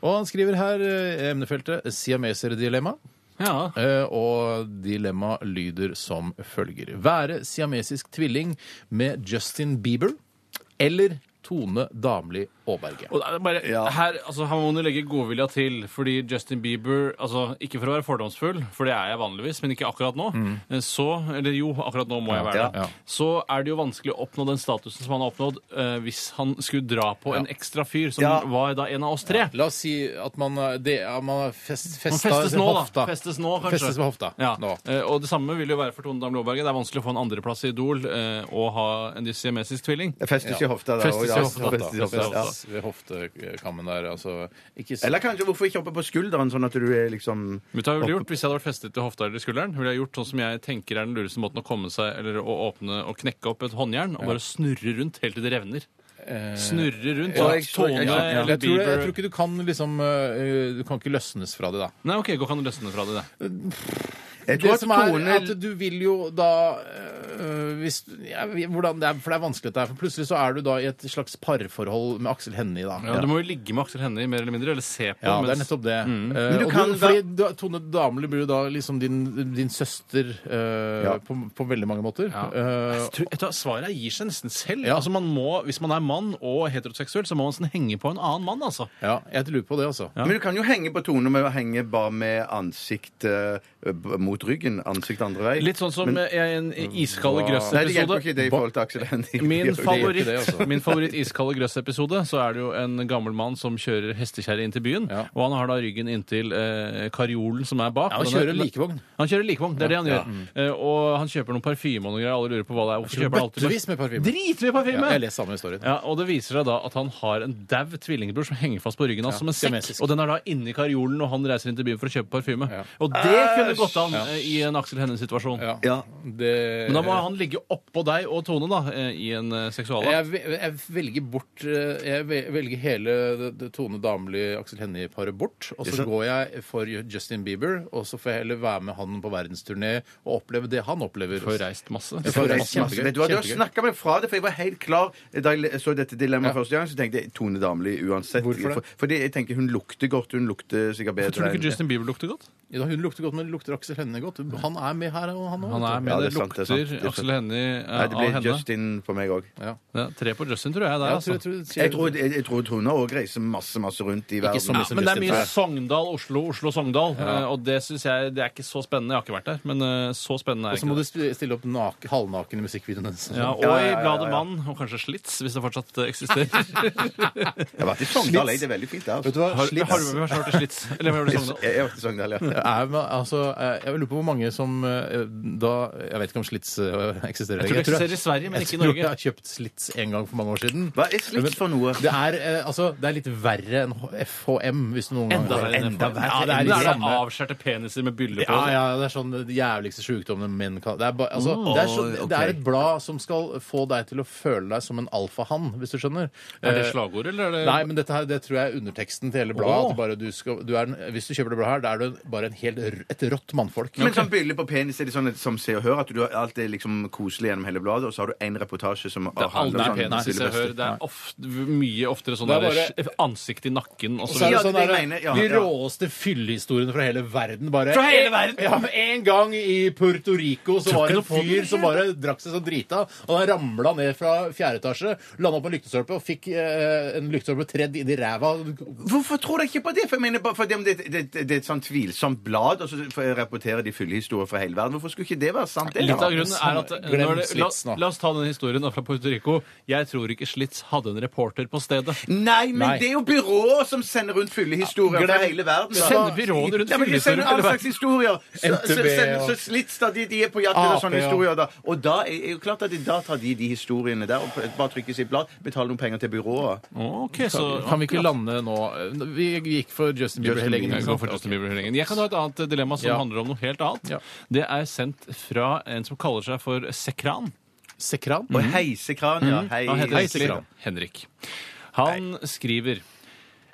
Og han skriver her eh, emnefeltet siameser-dilemma.
ja.
Eh, Og dilemma lyder som følger. Være siamesisk tvilling med Justin Bieber eller Tone Damli Aaberge.
Og det er bare, her, altså, her må du legge godvilja til, fordi Justin Bieber altså, Ikke for å være fordomsfull, for det er jeg vanligvis, men ikke akkurat nå. Så, eller jo, akkurat nå må jeg være
Mm. Ja.
det. Så er det jo vanskelig å oppnå den statusen som han har oppnådd, eh, hvis han skulle dra på en ekstra fyr, som var da en av oss tre.
La oss si at man, eh, det, ja, man har fest,
Han
festa
festes nå, da.
hofta.
Festes nå, kanskje.
Festes med hofta
Ja.
nå.
Eh, Og det samme vil jo være for Tone Damli Aaberge. Det er vanskelig å få en andreplass i Idol eh, og ha en siamesisk tvilling.
Det festes i hofta der
Festes i
også,
hofta,
Festes i hofta, ja.
Festes ved hoftekammen der. Altså, ikke så-
Eller kanskje hvorfor ikke oppe på skulderen, sånn at du er liksom
Vet du hva jeg ville gjort Hvis jeg hadde vært festet til hofta eller i skulderen, ville jeg gjort sånn som jeg tenker er den lureste måten å komme seg Eller å åpne og knekke opp et håndjern og bare snurre rundt helt til det revner. Snurre rundt.
Ja,
sånn
jeg
at
tror- ja,
Tone
ja.
eller
jeg, tror, jeg
Bieber
tror ikke du kan liksom eh, Du kan ikke løsnes fra det, da.
Nei, OK, gå kan du løsne fra det. det.
Jeg tror
Det
at
som er
Tone
at du vil jo da øh, hvis, ja, hvordan det er, For det er vanskelig dette her. For plutselig så er du da i et slags parforhold med Aksel Hennie, da.
Ja, du må jo ligge med Aksel Hennie mer eller mindre, eller se på.
Ja, det er
mens- Mm.
nettopp det. Eh,
Men du
og
kan
du,
da-
fordi da, Tone Damli blir jo da liksom din, din søster eh,
Ja.
på, på veldig mange måter.
Ja.
Eh,
Tror- vet du hva, Svaret gir seg nesten selv. Altså man må, Hvis man er mann og heteroseksuell, så må man nesten henge på en annen mann. altså.
ja, jeg lurer på det, altså.
Men du kan jo henge på Tone med å henge bare med ansiktet eh, b- mot ryggen. Ansikt andre vei.
Litt sånn som
Men-
eh, i en iskalde
Nei, det hjelper jo
grøss-episode.
ikke det i forhold til Aksel Hennie. Det gjør
Min
jo ikke
favoritt,
det.
altså.
min favoritt iskalde grøss-episode, så er det jo en gammel mann som kjører hestekjerre inn til byen.
Ja.
Og han har da ryggen inntil eh, karjolen som er bak.
Ja, han
Den er-
kjører likevogn.
Han kjører likevogn, det er det han gjør. Eh, og han kjøper noen parfyme og noen greier. Alle lurer på hva det er. Hvorfor kjøper han alltid
Bøttevis med parfyme.
Dritmye parfyme!
Ja, jeg leser samme historien.
Ja, og Det viser seg da at han har en dau tvillingbror som henger fast på ryggen hans
Ja,
som en sekk.
siamesisk.
Og den er da inni karjolen, og han reiser inn til byen for å kjøpe parfyme.
Ja.
Og det kunne gått an eh, i en Aksel Hennie-situasjon.
Ja.
Ja.
Det,
Men da må han ligge oppå deg og Tone da, eh, i en eh, seksuala.
Jeg, ve- jeg velger bort eh, Jeg ve- velger hele det- det Tone Damli, Aksel Hennie-paret bort. Og så går jeg for Justin Bieber, og så får jeg heller være med han på verdensturné og oppleve det han opplever.
Får reist masse.
Jeg
For
får
det er
reist
masse-
kjempegøy.
Vet du hva, du har
Kjempegøy.
snakka meg fra det, for jeg var helt klar da jeg så dette dilemmaet første gang. Så tenkte jeg Tone Damli uansett.
Hvorfor det?
For, fordi jeg tenker hun lukter godt. Hun lukter sikkert bedre
Tror du ikke
enn-
Justin Bieber lukter godt?
Ja, hun lukter godt, men lukter Aksel Hennie godt? Han er med her, og han òg.
Han er med,
Ja,
det,
det er sant, det er sant, det
lukter
er sant.
Aksel Hennie eh,
Nei, det
av
blir
henne.
Justin på meg òg.
Ja, tre på Justin, tror jeg. Der,
Ja,
altså.
tror, jeg- tror, jeg-
Jeg tror, jeg, jeg tror Tone òg reiser masse, masse rundt i verden.
så
Ja,
mye som
men det er
Justin
mye
Bieber.
Sogndal, Oslo, Oslo, Sogndal. eh, Og det syns jeg det er ikke så spennende. Jeg har ikke vært der, men eh, så spennende er det
Og så
ikke.
må
det.
du sp- stille opp nak halvnaken i musikkvideoen hennes.
Ja, og
Ja, ja, ja,
i
ja,
bladet
ja.
Mann, og kanskje Slits, hvis det fortsatt eh, eksisterer.
Jeg har vært i Sogndal, jeg. Det er veldig fint der.
Vet
Altså.
du hva?
Har,
Slits.
har du med meg hørt Slits? Eller har du
Jeg,
Sogndal?
jeg har vært i Sogndal, ja.
Det Er, man- altså, eh, jeg lurer på hvor mange som eh, da Jeg vet ikke om Slits eh, eksisterer
Jeg tror det eksisterer i Sverige, men
jeg
ikke i
tror
Norge.
Jeg har kjøpt Slits en gang for mange år siden.
Hva er slits for noe?
Det er, eh, altså, det er litt verre enn H- FHM, hvis du noen gang
Enda verre enn
Enda
FHM.
verre. Ja, det er
Det
litt
er da
samme.
avskjærte peniser med byller på.
Ja, ja, det er sånn de jævligste sjukdommene menn kan det er, ba, altså,
Mm.
det, er så,
Åh,
det
ok.
er et blad som skal få deg til å føle deg som en alfahann, hvis du skjønner.
Er det
Eh,
slagord, eller er det
Nei, men dette her, det tror jeg er underteksten til hele bladet.
Åh.
at Bare du skal, du er en, hvis du kjøper det bladet her, da er du en- bare en helt, r- et rått mannfolk.
Men sånn bylle på penis er det sånn at, som Se og Hør, at du har- alt er liksom koselig gjennom hele bladet, og så har du én reportasje som sånn
Det er aldri
om
penis, hvis jeg
fyllebøster.
hører. Det er ofte, mye oftere sånn
Det er
der s- ansikt i nakken og
Og
så
så er det
Ja,
videre.
det
sånn
er det
der,
jeg mener, ja,
de
ja.
råeste fyllehistoriene fra hele verden. Bare,
Fra hele verden?
Ja, men En gang i Puerto Rico så
Tror
var det en
ikke noe på
fyr
det.
som bare drakk seg så drita, og han ramla ned fra fjerde etasje, landa på en lyktestolpe og fikk eh, en lyktestolpe tredd inn i ræva.
Hvorfor tror dere ikke på det? For jeg mener, bare fordi om det, det, det, det er et sånn tvilsomt blad, og så rapporterer de fyllehistorier fra hele verden. Hvorfor skulle ikke det være sant? det, da?
Litt av grunnen er at
sånn- Glem
når det, la,
Slits nå.
la oss ta den historien da fra Puerto Rico. Jeg tror ikke Slits hadde en reporter på stedet.
Nei, men
Nei.
det er jo byrået som sender rundt fyllehistorier fra
glem-
hele verden. da.
Sender byråene rundt
Ja, men de
fyllehistorier
sender
fra hele
all
verden?
slags historier. Så,
NTB,
så, sender-
og-
så slits da de, de er på jakt etter
AP,
sånne
Ah, ja.
historier. da. Og da er er jo klart at de, da tar de de historiene der og bare trykker sitt blad, betaler noen penger til byrået.
Ok, så...
Kan vi ikke lande nå? Vi gikk for Justin Bieber
Justin
hele
Bieber,
gjengen.
Jeg går for Justin Bieber hele gjengen. Jeg kan ha et annet dilemma som
Ja.
handler om noe helt annet.
Ja.
Det er sendt fra en som kaller seg for Sekran.
Sekran?
Og
Mhm.
heisekran, ja. Hei,
Han heter
heisekran.
egentlig Henrik. Han skriver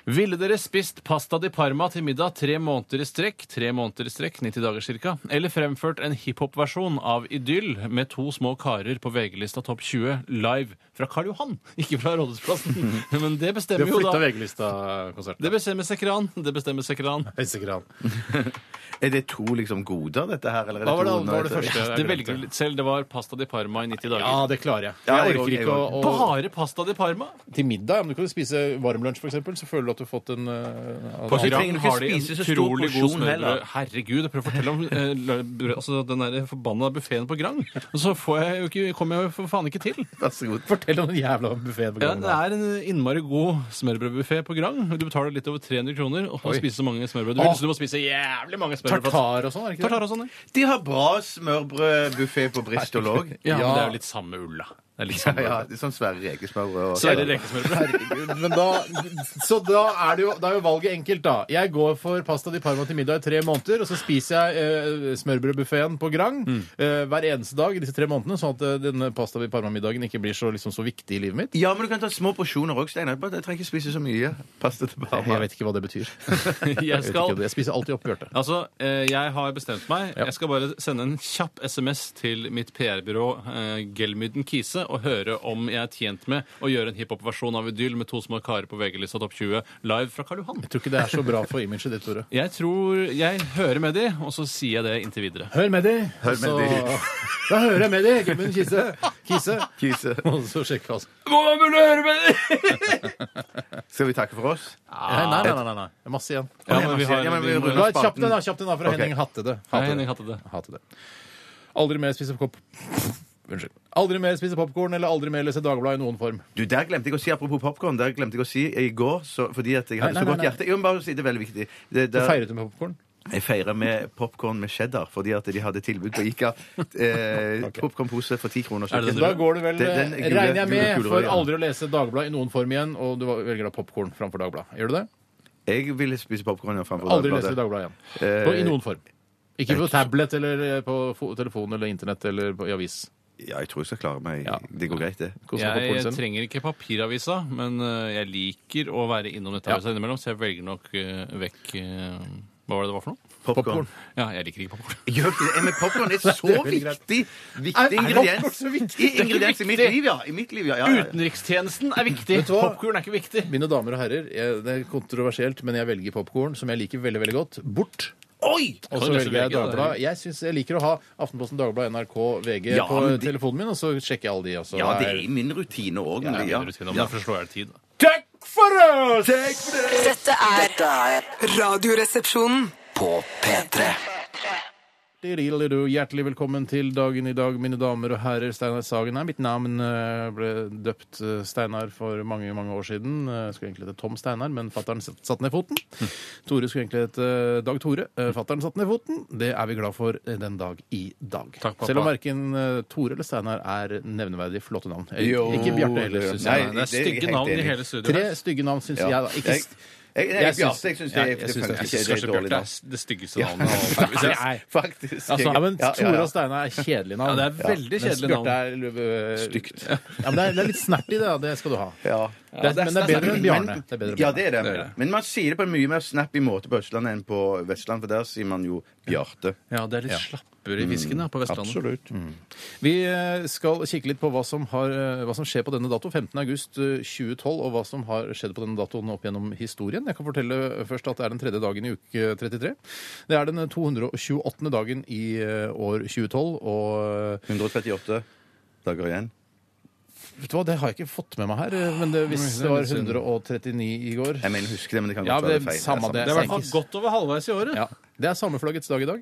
Ville dere spist pasta di Parma til middag tre måneder i strekk, tre måneder i strekk, 90 dager cirka, eller fremført en hiphop-versjon av Idyll med to små karer på VG-lista Topp 20 live fra Karl Johan, ikke fra Rådhusplassen? [LAUGHS] Men det
De
bestemmer
har
jo
flytta
da
VG-lista-konserten.
Det bestemmer Sekran. Det bestemmer Sekran.
Helsekran.
Er det to liksom goder, dette her? Eller er
Hva var det,
to
hva var det
nøyter?
første?
Det velger du litt selv. Det var pasta di Parma i 90 dager.
Ja, det klarer jeg.
Ja, jeg
jeg
òg,
orker
jeg
ikke å, å
Bare pasta di Parma?
Til middag, om du kan spise varmlunsj f.eks., så føler du at du har fått en eh,
På
Grang
annen-
Grang har de en
spise så stor
utrolig god
porsjon
smørbrød.
heller.
Herregud, prøv å fortelle om eh, lø- brød- altså, den der forbanna buffeen på Grang. Og så får jeg jo ikke, kommer jeg jo for faen ikke til.
[LAUGHS] Vær så god.
Fortell om den jævla buffeen.
Ja, det er en innmari god smørbrødbuffé på Grang. Du betaler litt over 300 kroner og får spise så mange smørbrød du vil.
Åh.
Så du må spise jævlig mange smørbrød. for at-
Tartar og sånn, er det ikke det?
Tartar og sånn, ja.
De har bra smørbrødbuffé på Bristol òg.
ja.
Ja.
Men det er jo litt samme ulla. Det er litt samme
Ja,
ulla.
det er sånn Sverre Rekesmørbrød. og-
Så er det rekesmørbrød.
[LAUGHS]
Herregud, men da, så da er, det jo, da er jo valget enkelt, da. Jeg går for pasta di Parma til middag i tre måneder, og så spiser jeg eh, smørbrødbuffeen på Grang
Mm.
eh, hver eneste dag i disse tre månedene, sånn at eh, denne pasta di Parma-middagen ikke blir så, liksom, så viktig i livet mitt.
Ja, men du kan ta små porsjoner òg, Steinar. Bare- Jeg trenger ikke spise så mye. Pasta til
Jeg
barna.
vet ikke hva det betyr.
[LAUGHS] Jeg
vet
skal
ikke, jeg spiser alltid opp, Bjarte.
Altså, eh, jeg har bestemt meg. Jeg skal bare sende en kjapp SMS til mitt PR-byrå eh, Gelmyden Kise og høre om jeg er tjent med å gjøre en hiphop-versjon av Idyll med to små karer på VG-lista Topp 20 live fra Karl Johan.
Jeg tror ikke det er så bra for imaget ditt, Tore.
Jeg tror jeg hører med de, og så sier jeg det inntil videre.
Hør med de!
Hør med de.
[LAUGHS] Da hører jeg med de! Gummen Kise. Kise.
[LAUGHS]
Kise.
Og så sjekke, altså.
Må man burde høre med de!
Skal vi takke for oss?
Nei,
Ah.
nei, nei. nei, nei. Det er masse igjen.
Ja, men vi har,
Ja, men vi
vi
runder
La et kjapt
spalten.
en, da. Kjapt en da fra
Ok.
Henning Hattede.
Nei, Henning Hattede.
Hattede. Aldri mer spise kopp... [LAUGHS] Unnskyld. Aldri mer spise popkorn eller aldri mer lese Dagbladet i noen form.
Du, Der glemte jeg å si, apropos popkorn, der glemte jeg å si i går så, fordi at jeg hadde
Nei, nei,
så godt
nei, nei.
hjerte. Jo, men bare si det er veldig viktig. Det,
Du
der,
feiret du med popkorn?
Jeg feirer med popkorn med cheddar, fordi at de hadde tilbud på
[LAUGHS]
Ica. Eh, Popkornpose for ti kroner.
Er det det du-
Da går du vel eh,
Det- den gule-
Regner jeg
gule
med
kulere,
for
ja.
aldri å lese Dagbladet i noen form igjen, og du velger da popkorn framfor Dagbladet. Gjør du det?
Jeg ville spise popkorn framfor
Aldri
Dagbladet.
lese Dagbladet igjen.
Eh,
På, I noen form. Ikke på tablet eller eh, på fo- telefon eller internett eller på, i avis.
Ja, jeg tror jeg skal klare meg.
Ja.
Det går greit, det.
Kos deg med
Jeg,
popcornen selv.
trenger ikke papiravisa, men eh, jeg liker å være innom nettavisa innimellom, så jeg velger nok eh, vekk eh, Hva var det det var for noe?
Popcorn.
Ja, jeg liker ikke popkorn.
Gjør ikke det. Men popkorn er så viktig,
Er- er
viktig
popcorn
ingrediens.
så viktig?
I- Ingrediens i mitt liv, ja. I mitt liv, ja. ja, ja, ja.
Utenrikstjenesten er viktig!
Vet du hva?
Popkorn er ikke viktig.
Mine damer og herrer, jeg, det er kontroversielt, men jeg velger popkorn, som jeg liker veldig, veldig godt, bort.
Oi!
Kan
Og så
du lese
velger jeg
VG, da?
Dagbladet. Jeg, synes jeg liker å ha Aftenposten, Dagbladet, NRK, VG
Ja,
på
men de-
telefonen min, og så sjekker jeg alle de. altså. Og så
Ja, det
er-
er i min rutine òg.
Det
Ja,
er
ja.
min rutine, men Derfor slår jeg tid. da.
Takk for oss!
Dette er
Dette er
Radioresepsjonen.
på P3.
Diddeliddeliddu. Hjertelig velkommen til dagen i dag, mine damer og herrer. Steinar Sagen er mitt navn. eh, Ble døpt eh, Steinar for mange, mange år siden. Eh, Skulle egentlig hete Tom Steinar, men fattern satte ned foten.
Hm.
Tore skulle egentlig hete eh, Dag Tore. Fattern satte ned foten. Det er vi glad for eh, den dag i dag.
Takk, pappa.
Selv om verken eh, Tore eller Steinar er nevneverdig flotte navn. Eh,
Jo,
Ikke Bjarte heller,
det-
syns
Nei,
det er
jeg.
det er jeg
stygge
helt
navn i
enig.
hele studioet.
Tre stygge navn, syns jeg. da. Ikke
Jeg,
st-
jeg, jeg,
Jeg
jeg,
syns-
jeg syns
ja,
det,
jeg
det,
syns det.
det,
Jeg
Jeg synes
det er
kanskje
dårlig.
Bjarte
da.
er det styggeste
[LAUGHS]
navnet. av alle. Hvis jeg-
Nei.
Faktisk.
Altså, ja, men
Ja, ja, ja.
Tore og Steinar er kjedelige navn.
Ja, det er veldig
Mens
kjedelige navn.
Bjarte er
Stygt.
Ja, men det er, det er litt snert i det, da. Det skal du ha.
Ja.
Det er- men det er bedre enn Bjarne. Det er bedre enn
Ja, det er det.
Det er det.
Men man sier det på en mye mer snappy måte på Østlandet enn på Vestland, for der sier man jo Bjarte.
Ja, Mm. det er litt slappere i fisken da, på Vestlandet.
Absolutt.
Mm. Vi eh, skal kikke litt på hva som, har, eh, hva som skjer på denne dato, 15. august eh, 2012, og hva som har skjedd på denne datoen opp gjennom historien. Jeg kan fortelle eh, først at det er den tredje dagen i uke 33. Det er den 228. dagen i eh, år 2012, og
138 dager igjen.
eh, vet du hva, det har jeg ikke fått med meg her, eh, men det, hvis det var 139 i går
Jeg mener, husker det, men det kan godt
Ja,
være
det er
feil.
samme det.
Det er i hvert fall godt over halvveis i året.
ja, Det er sameflaggets dag i dag.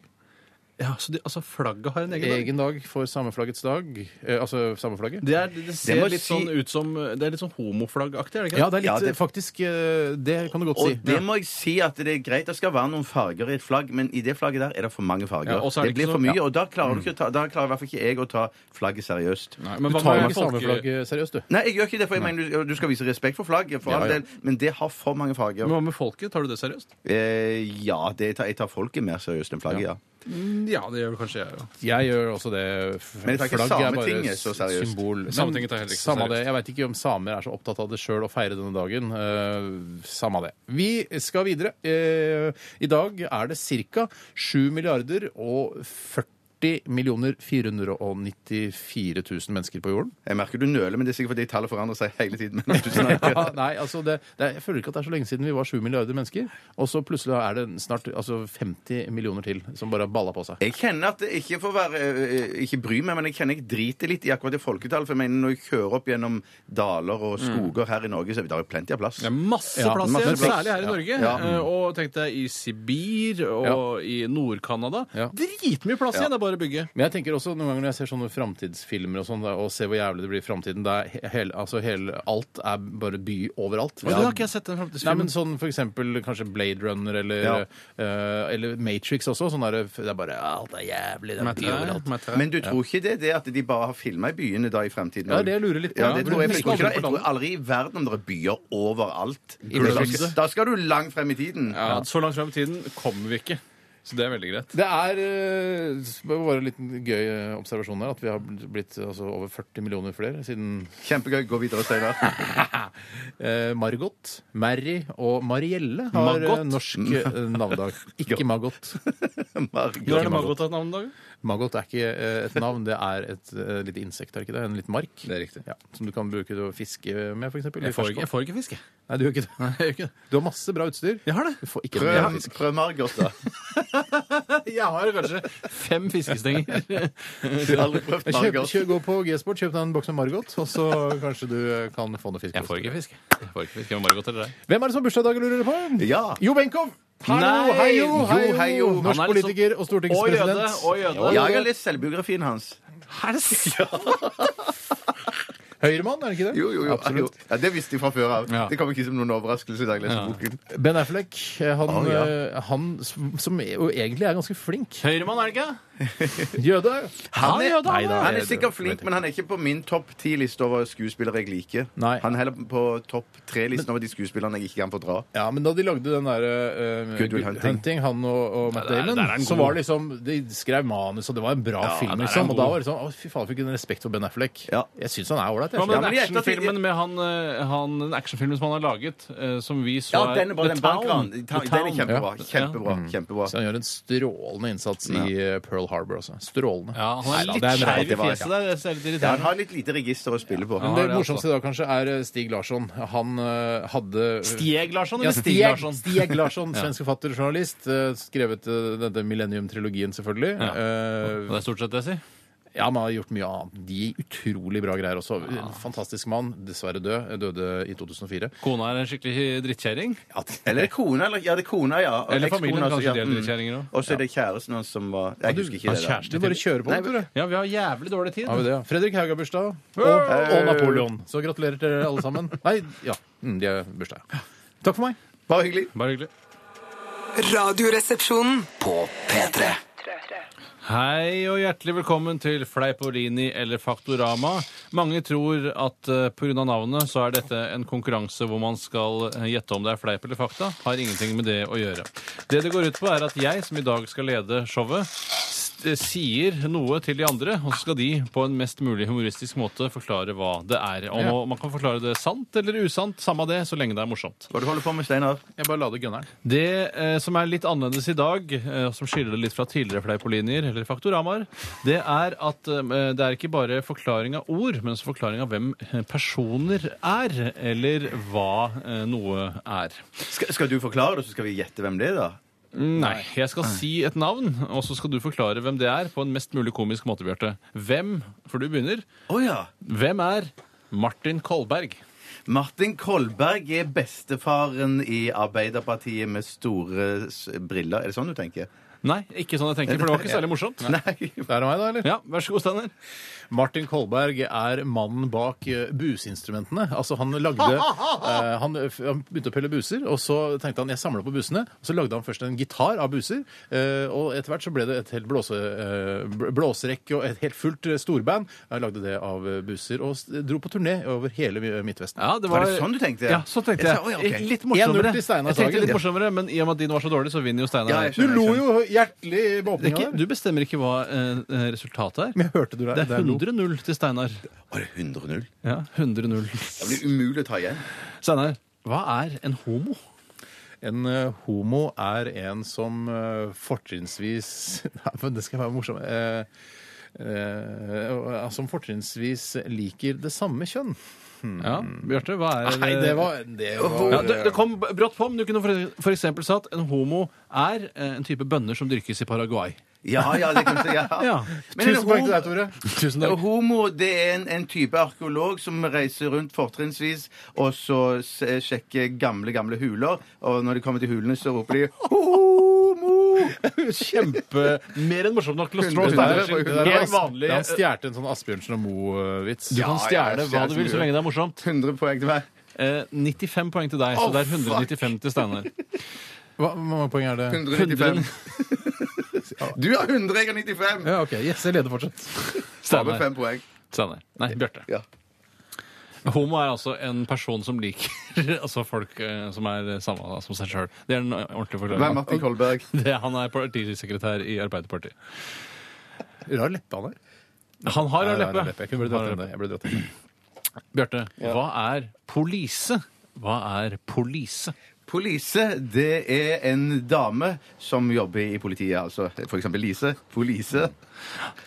Ja, så de, altså, flagget har en egen dag.
Egen dag for sameflaggets dag. Eh, altså sameflagget.
Det, er, det ser
Det må
litt
si-
sånn ut som Det er litt sånn homoflaggaktig, er det ikke?
Ja, det er litt
Ja, det-
faktisk eh, Det kan du godt si.
Og det
Ja.
må jeg si at det er greit. Det skal være noen farger i et flagg, men i det flagget der er det for mange farger.
Ja, og så er
det,
det
blir
ikke
for
så-
mye, og da klarer, du ikke å ta, da klarer i hvert fall ikke jeg å ta flagget seriøst. Nei,
Nei, men
Du
hva
tar jo
med
ikke
folke...
sameflagget seriøst, du.
jeg gjør ikke det, for jeg mener du, du skal vise respekt for flagget, for
Ja,
all
ja.
del, men det har for mange farger.
Men hva med folket? Tar du det seriøst?
Eh, ja, det, jeg, tar, jeg tar folket mer seriøst enn flagget, ja.
Ja, det gjør vel kanskje jeg òg.
Jeg gjør også det.
Men det er ikke Sametinget så seriøst.
symbol. Men
Sametinget er heller ikke så
samme
seriøst.
det. Jeg veit ikke om samer er så opptatt av det sjøl å feire denne dagen. Eh, samme det. Vi skal videre. Eh, I dag er det ca. 7 milliarder og 40 millioner 494 000 mennesker på jorden.
Jeg merker du nøler, men det er sikkert fordi tallet forandrer seg hele tiden. [LAUGHS] mens du snakker.
[LAUGHS]
Ja, nei, altså det, det, er- Jeg føler ikke at det er så lenge siden vi var 7 milliarder mennesker. Og så plutselig er det snart altså 50 millioner til som bare har balla på seg.
Jeg kjenner at det ikke får være eh, Ikke bry meg, men jeg kjenner jeg driter litt i akkurat det folketallet. For jeg mener, når jeg kjører opp gjennom daler og
Mm.
skoger her i Norge, så er det der er plenty av plass.
Det er masse
Ja,
plass
masse
igjen,
plass.
særlig her i Norge.
Ja.
Eh, Og tenk deg i Sibir og i Nord-Canada.
Ja.
Dritmye plass igjen, det er bare å bygge.
Men jeg tenker også noen ganger når jeg ser sånne framtidsfilmer og sånn, da, og ser hvor jævlig det blir i framtiden det er he- hele, altså hele, Alt er bare by overalt.
Og Den har ikke jeg sett, den
Nei, men
framtidsfilmen.
sånn for eksempel kanskje Blade Runner eller,
Ja.
eh, eller Matrix også. Sånn der, det er bare Alt er jævlig. Det er by overalt.
Men du tror ikke det er det at de bare har filma i byene da i fremtiden?
Ja, det jeg lurer litt på.
Ja, det tror jeg, for jeg, tror ikke,
Burde
jeg tror aldri i verden om det er byer overalt. I
Burde
det
det
norske.
det?
Da skal du langt frem i tiden.
Ja, så langt frem i tiden kommer vi ikke. Så det er veldig greit.
Det er eh, bare en liten gøy eh, observasjon her, at vi har blitt altså, over 40 millioner flere siden
Kjempegøy. Gå videre, Steinar.
eh, Margot, Mary og Marielle har
Margot?
eh, norsk eh,
[LAUGHS]
navnedag. Ikke Margot.
Når
[LAUGHS]
er
Margot.
det Margot har navnedag?
Maggot er ikke eh, et navn, det er et eh, lite insekt, er det ikke det? En liten mark?
Det er riktig.
Ja, som du kan bruke til å fiske med, f.eks.
Jeg får ikke, jeg får ikke fiske.
Nei, du gjør ikke det.
Nei, jeg gjør ikke det.
Du har masse bra utstyr.
Jeg har det.
Du får ikke noe
Prøv,
mer fisk.
prøv Margot, da.
[LAUGHS] Jeg har kanskje fem fiskestenger.
Du har aldri prøvd
Kjøp,
Margot.
kjø, gå på G-sport, kjøp deg en boks med Margot, og så kanskje du eh, kan få noe fisk.
Jeg får ikke fiske. Jeg får ikke fiske med Margot eller deg.
Hvem er det som har bursdag i dag, lurer du på?
Ja.
Jo Benkow! Hallo,
Nei!
hei jo, hei
Jo, hei,
jo!
jo.
Norsk
Han er litt sånn-
politiker og stortingspresident.
jøde.
Ja, jeg har lest selvbiografien hans.
Er det sant?
Høyremann, er det ikke det?
Jo, jo, jo.
Absolutt.
Ja, det visste de fra før av.
Ja.
Det kom ikke som noen overraskelse da jeg leste boken.
Ben Affleck, eh, han,
Å, ja.
eh, han som som jo egentlig er ganske flink.
Høyremann, er det ikke?
Jøde.
Han er jøde, han er.
Han er sikkert flink, men han er ikke på min topp ti-liste over skuespillere jeg liker.
Nei.
Han er heller på topp tre-listen over de skuespillerne jeg ikke kan fordra.
Ja, men da de lagde den derre eh,
Good Will
Good
Hunting.
Hunting, han og, og Matt
Ja, der- der er
Damon,
han
så
god.
var det liksom De skrev manus, og det var en bra
Ja, der
film,
er
liksom.
han
Og da
god.
var det sånn Å, fy faen, fikk en respekt for Ben Affleck.
Ja.
Jeg syns han er ålreit,
Hva med
jeg.
men
den
i ettertid-
actionfilmen med han, eh, han den actionfilmen som han har laget, eh, som vi så
Ja, den er bra. Den bankranen. Den
The
er
Town.
kjempebra.
Ja. Mm.
Kjempebra. kjempebra.
Så han gjør en strålende innsats i eh, Pearl Harbor også. Strålende.
Ja, han
Nei
er
da,
litt
det en rar-
skeiv i
det var-
fjeset der. Det ser litt
Ja, han
irriterende ut.
har litt lite register å spille på.
Ja.
Det
det altså. er
morsomste i dag kanskje er eh, Stig Larsson. Han eh, hadde
Stieg Larsson
Ja,
eller Stig
Stieg
Larsson?
Stieg Larsson, svensk forfatter og journalist. eh, Skrevet eh, denne Millennium-trilogien, selvfølgelig.
Ja.
Eh,
Det er stort sett det jeg sier.
Ja, man har gjort mye annet. De er utrolig bra greier også. En Fantastisk mann. Dessverre død. Eh, Døde i 2004.
Kona er en skikkelig drittkjerring.
Ja, det-
Eller kona, eller ja, det er kona, ja. Og
Eller familien,
ekskona, så-
kanskje de er
mm.
drittkjerringer også.
Og så er det kjæresten hans som var Jeg husker ikke
hans
det.
kjæreste.
da.
Du bare kjører på, tror jeg.
Ja, vi har jævlig dårlig tid.
Har vi det, ja. Fredrik Haug har bursdag. Og,
Hey!
og Napoleon. Så gratulerer til dere alle sammen. Nei, ja. Mm, De har bursdag. ja. Takk for meg.
Bare hyggelig.
Bare hyggelig.
Radioresepsjonen.
På P3.
Hei og hjertelig velkommen til Fleipolini eller Faktorama. Mange tror at eh, på grunn av navnet så er dette en konkurranse hvor man skal eh, gjette om det er fleip eller fakta. Har ingenting med det å gjøre. Det det går ut på er at jeg, som i dag skal lede showet, st- eh, sier noe til de andre, og så skal de på en mest mulig humoristisk måte forklare hva det er. Om
Ja.
å- man kan forklare det sant eller usant, samme det, så lenge det er morsomt.
Hva du holder på med, Steinar?
Jeg bare lader gunneren.
Det eh, som er litt annerledes i dag, eh, og som skiller det litt fra tidligere fleipolinjer, eller faktoramaer, det er at eh, det er ikke bare forklaring av ord, men også forklaring av hvem eh, personer er, eller hva eh, noe er.
Skal, skal du forklare det, så skal vi gjette hvem det er, da?
Nei. Jeg skal si et navn, og så skal du forklare hvem det er, på en mest mulig komisk måte, Bjarte. Hvem, for du begynner,
Å ja.
hvem er Martin Kolberg?
Martin Kolberg er bestefaren i Arbeiderpartiet med store s- briller. Er det sånn du tenker?
Nei, ikke sånn jeg tenker, for det var [LAUGHS] ikke særlig morsomt.
Nei.
Det er meg, da, eller?
Ja, vær så god, Steinar.
Martin Kolberg er mannen bak eh, businstrumentene. Altså, han [LAUGHS] lagde eh, han, f- han begynte å pelle buser, og så tenkte han jeg samler på busene. Og så lagde han først en gitar av buser, eh, og etter hvert så ble det et helt blåse, eh, bl- blåserekke og et helt fullt eh, storband. Han lagde det av eh, buser og s- dro på turné over hele Mi- Midtvesten.
Ja, det
Var
var,
det sånn du tenkte?
Ja, så tenkte
Jeg
jeg.
sa, «Oi, ok».
Litt
1-0
morsommere.
til Steinar
Jeg tenkte
Sagen.
litt morsommere, men i og med at din var så dårlig, så vinner
Ja,
jo Steinar.
jeg
Du
skjønner,
lo
jeg
jo hjertelig med
Det er
åpninga
ikke,
der.
du bestemmer ikke hva eh, resultatet er.
Men jeg hørte du der.
Det er
der lo.
100-0 til Steinar.
Var det 100-0?
Ja, 100-0.
Det blir umulig å ta igjen.
Steinar, hva er en homo?
En eh, homo er en som eh, fortrinnsvis [LAUGHS] Nei, men Det skal være morsomt. eh, eh, eh, som fortrinnsvis liker det samme kjønn.
Mm.
Ja, Bjarte, hva er
Nei, det var, det var
ja, det, det kom b- brått på, men du kunne for, for eksempel sagt en homo er eh, en type bønner som dyrkes i Paraguay.
Ja, ja, det kan du si.
[LAUGHS]
Ja.
Ja.
Men en
Tusen takk til
homo-
deg, Tore.
Tusen takk.
Homo det er en, en type arkeolog som reiser rundt fortrinnsvis og så se- sjekker gamle, gamle huler. Og når de kommer til hulene, så roper de Homo!
Kjempe Mer enn morsomt nok til å slå
Det
Steinar
der,
sin
det der
helt
var,
vanlige
han stjerte en sånn Asbjørnsen og Moe-vits.
Du kan stjele hva du vil så lenge det er morsomt.
100 poeng til meg.
Eh, 95 poeng til deg, så det er 195 til Steinar.
Hva hvor mange poeng er det?
195. [LAUGHS] Du har 100, jeg har 95.
Ja, ok. Yes, jeg leder fortsatt.
Bare med
Steinar.
fem poeng.
Steinar. Nei, Bjarte.
Ja.
Homo er altså en person som liker [LAUGHS] altså folk eh, som er samme da, som seg sjøl. Det er en ordentlig
Hvem er
forklaring.
Martin Kolberg?
[LAUGHS] Det, han er partisekretær i Arbeiderpartiet.
Rar leppe han har.
Han har rød
Rar
leppe.
leppe. Jeg kunne blitt dratt inn det. Jeg ble dratt inn det.
Bjarte, hva er polise? Hva er polise?
Polise, det er en dame som jobber i politiet, altså. For eksempel Lise. Polise.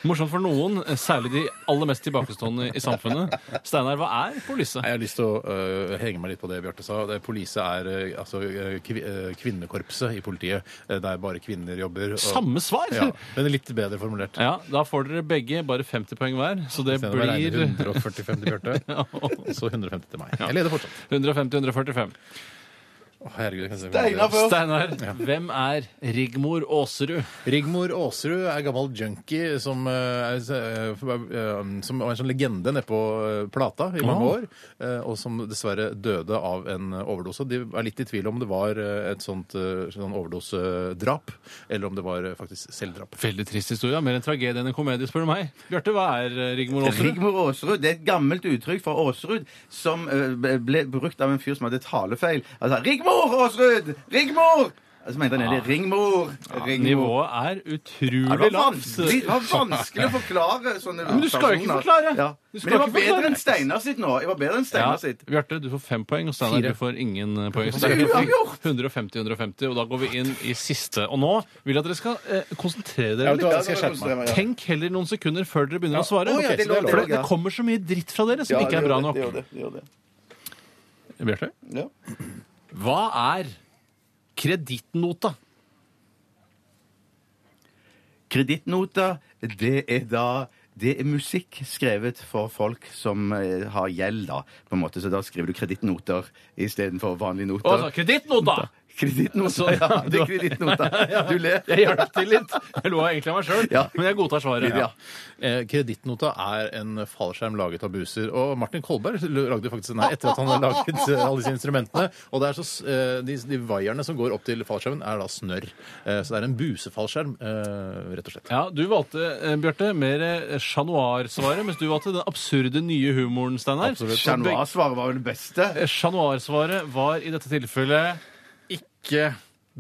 Morsomt for noen, eh, særlig de aller mest tilbakestående i samfunnet. Steinar, hva er polise?
Nei, Jeg har lyst til å øh, henge meg litt på det Bjarte sa. Det, polise er øh, altså, øh, kvi, øh, kvinnekorpset i politiet, øh, der bare kvinner jobber. og-
Samme svar!
Ja, men litt bedre formulert.
Ja, Da får dere begge bare 50 poeng hver, så det
Istedenfor å regne
blir
145 til
[LAUGHS]
Bjarte, og så 150 til meg. Jeg leder fortsatt.
150-145.
Å, herregud, jeg kan se
Steinar først.
Steinar, hvem er Rigmor Aasrud?
Rigmor Aasrud er gammel junkie som, eh, er, eh, som var en sånn legende nede på eh, Plata i mange
Ah.
år, eh, og som dessverre døde av en eh, overdose. De er litt i tvil om det var eh, et sånt eh, sånn overdosedrap, eller om det var eh, faktisk selvdrap.
Veldig trist historie. da. Mer en tragedie enn en komedie, spør du meg. Bjarte, hva er eh, Rigmor Aasrud?
Rigmor Aasrud. Det er et gammelt uttrykk fra Aasrud som eh, ble brukt av en fyr som hadde talefeil. Altså Rigmor Aasrud! Rigmor! Og Så mente han egentlig Ringmor. Ringmor.
Nivået er
Ja,
utrolig
Det var,
lavt.
vanskelig, det var vanskelig å
[LAUGHS]
forklare sånne
Men du skal jo ikke
personer.
forklare.
Ja.
Du skal
Men jeg var
ikke forklare.
bedre enn Steinar sitt nå. Jeg var bedre enn
Ja,
Steinar sitt.
Bjarte, du får fem poeng, og Steinar, du får ingen eh, poeng. Så
Hvorfor
det er
er det
[LAUGHS]
uavgjort?
150-150, og da går vi inn i siste. Og nå vil jeg at dere skal eh, konsentrere dere litt.
vet du hva, jeg skal skjerpe meg.
Ja.
Tenk heller noen sekunder før dere begynner å svare.
Å, ja, det er lov, det er
for
lov,
det, det
ja.
kommer så mye dritt fra dere som
Ja,
ikke
det
er bra
gjør det,
nok.
det gjør det, det gjør det.
Bjarte,
Ja.
hva er kredittnota?
Kredittnota, det er da det er musikk skrevet for folk som eh, har gjeld, da. på en måte, Så da skriver du kredittnoter istedenfor vanlige
Å,
noter.
Altså, kredittnota!
Kredittnota,
Så-
ja. Det er kredittnota. Du ler.
Jeg hjalp til litt. Jeg lo egentlig av meg sjøl,
Ja.
men jeg godtar svaret.
Ja.
Eh, Kredittnota er en fallskjerm laget av buser. Og Martin Kolberg lagde faktisk den her etter at han har laget eh, alle disse instrumentene. Og det er så, s- eh, de, de vaierne som går opp til fallskjermen, er da snørr. Eh, Så det er en busefallskjerm, eh, rett og slett.
Ja, Du valgte eh, Bjørte, mer eh, Chat Noir-svaret, mens du valgte den absurde nye humoren. Steinar.
Absolutt.
Og begge-
Januar-svaret var vel det beste.
Eh, Chat Noir-svaret var i dette tilfellet ikke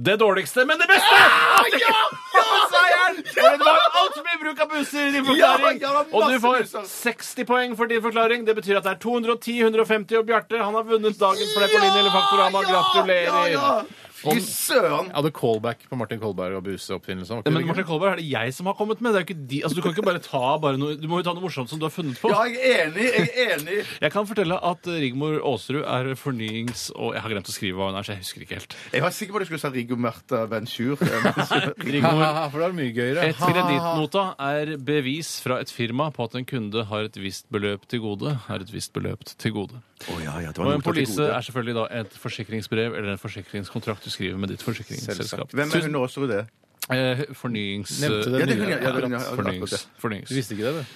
det dårligste, men det beste!
Ah,
ja! Seieren! For Det var altfor mye bruk av busser i din forklaring.
Ja, ja, det var
og du
masse
får
busser.
60 poeng for din forklaring. Det betyr at det er 210, 150, og Bjarte han har vunnet dagens Fleip og Linje eller Faktorama.
Ja,
Gratulerer!
ja. Fy søren.
Jeg hadde callback på Martin Kolberg og buseoppfinnelsen.
Ja,
Var ikke
Men
det
Martin Kolberg, er det jeg som har kommet med? Det er jo ikke de, altså, du kan ikke bare ta bare noe, du må jo ta noe morsomt som du har funnet på.
Ja, jeg er enig. Jeg er enig.
Jeg kan fortelle at Rigmor Aasrud er fornyings... Og jeg har glemt å skrive hva hun er, så jeg husker ikke helt.
Jeg var sikker på at du skulle si Riggo Märtha Ventur.
Rigmor,
gøy? [LAUGHS] for det er mye gøyere.
et kredittnota er bevis fra et firma på at en kunde har et visst beløp til gode. Har et visst beløp til gode.
Oh, ja, ja, det
Og
var
en polise
noe
er selvfølgelig da et forsikringsbrev eller en forsikringskontrakt du skriver med ditt forsikringsselskap.
Hvem er hun Aasrud, det?
Eh, fornyings...
Nevnte det
Ja, det er hun, ja. ja, det er hun, ja.
Fornyings... fornyings.
Du visste ikke det,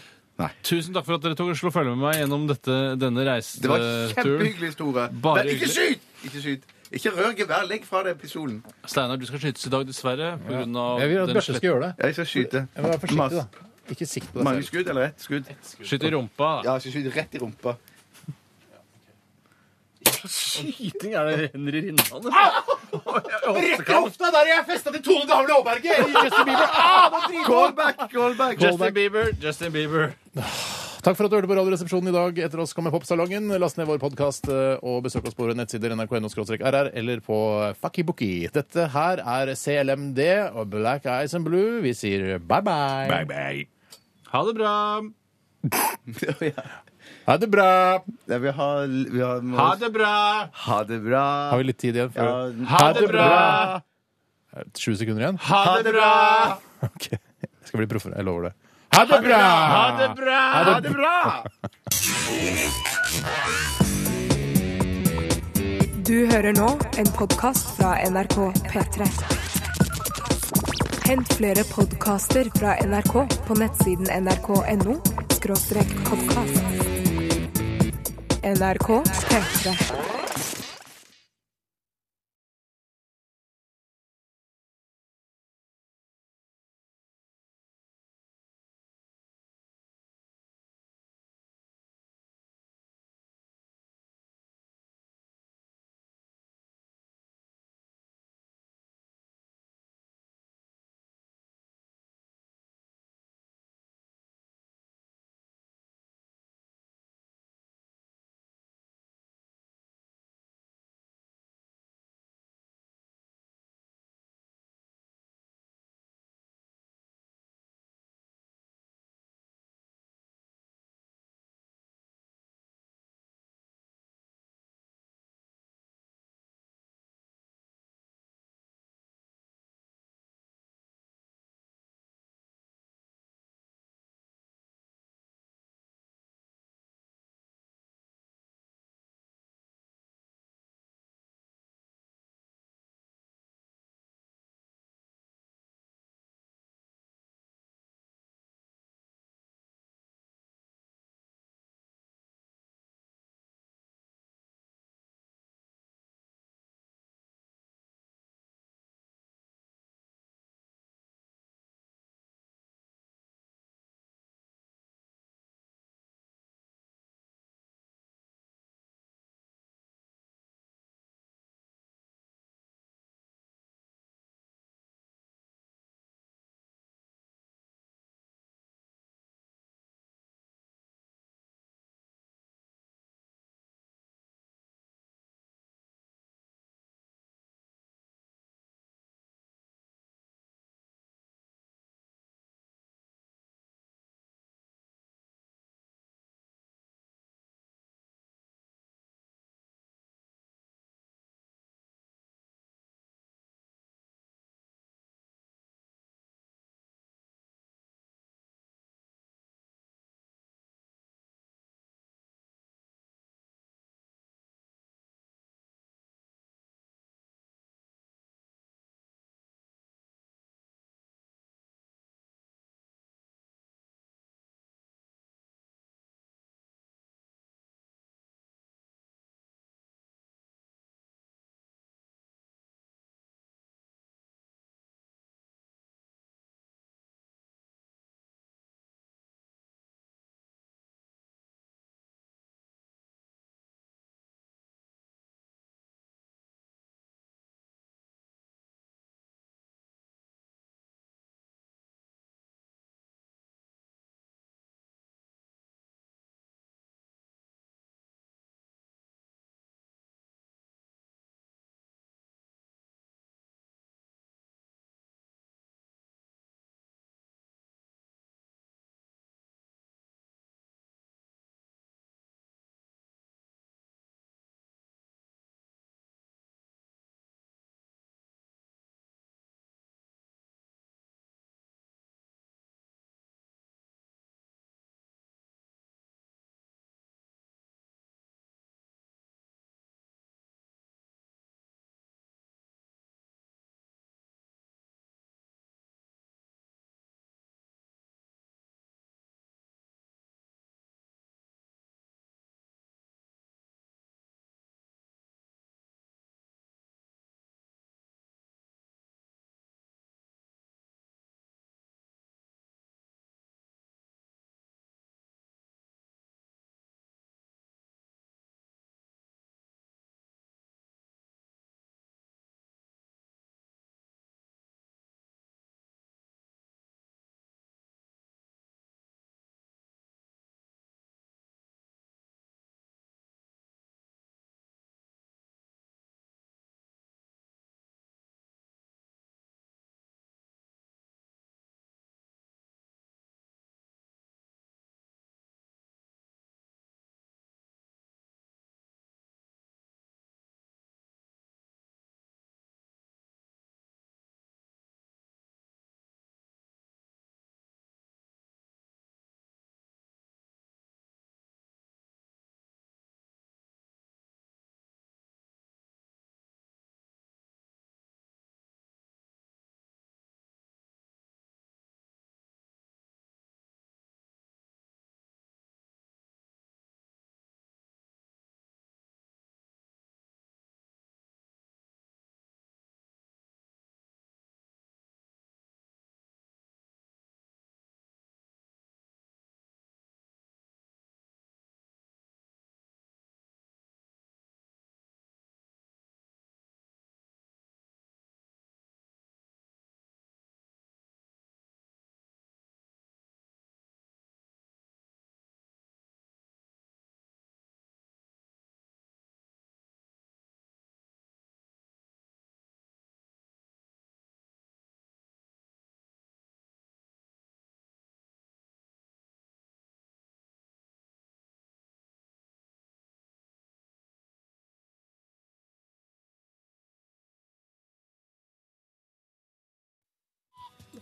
du?
Tusen takk for at dere tok og slo følge med meg gjennom dette, denne
Det var
reiseturen.
kjempehyggelig, Tore.
Eh, Bare
Men ikke
hyggelig.
skyt! Ikke skyt. Ikke rør gevær. Legg fra deg pistolen.
Steinar, du skal skytes i dag, dessverre. På grunn av
Jeg vil at
den
Bjarte skal gjøre det.
Jeg skal skyte.
Jeg må være forsiktig,
Mas-
da. Ikke sikt på deg
Mange
selv.
skudd eller ett skudd?
Skyt i rumpa.
Ja, jeg skal skyte rett i rumpa.
Skyting er det Henry Rinnan?
Ah!
Rekk opp!
hofta der jeg er festa til Tone Damli Aaberge! i Justin Bieber. Ah, nå driver jeg!
Callback, callback!
Justin Bieber, Justin Bieber.
Takk for at du hørte på Radioresepsjonen i dag. Etter oss kommer Popsalongen. Last ned vår podkast og besøk oss på våre nettsider nrk.no-rr eller på Fuckybooky. Dette her er CLMD og Black Eyes and Blue. Vi sier bye bye.
Bye, bye.
Ha det bra.
Ha det bra.
Nei, vi har, vi har, må-
Ha det bra.
ha det bra.
Har vi litt tid igjen?
ja,
Før?
Ha det bra.
Eh, Sju sekunder igjen?
Ha det bra.
Ok. Jeg skal bli proffere. Jeg lover det. Ha det bra!
Ha det bra. Ha det bra.
Du hører nå en podkast fra NRK P3. Hent flere podkaster fra NRK på nettsiden nrk.no podkast. NRK P3.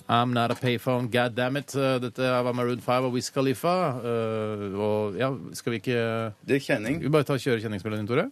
I'm not a payphone, god damn it. Eh, Dette var Maroon 5 og Wiz Khalifa. Eh, og ja, skal vi ikke
Det er kjenning.
Vi bare tar kjøre kjenningsmeldingen, Tore?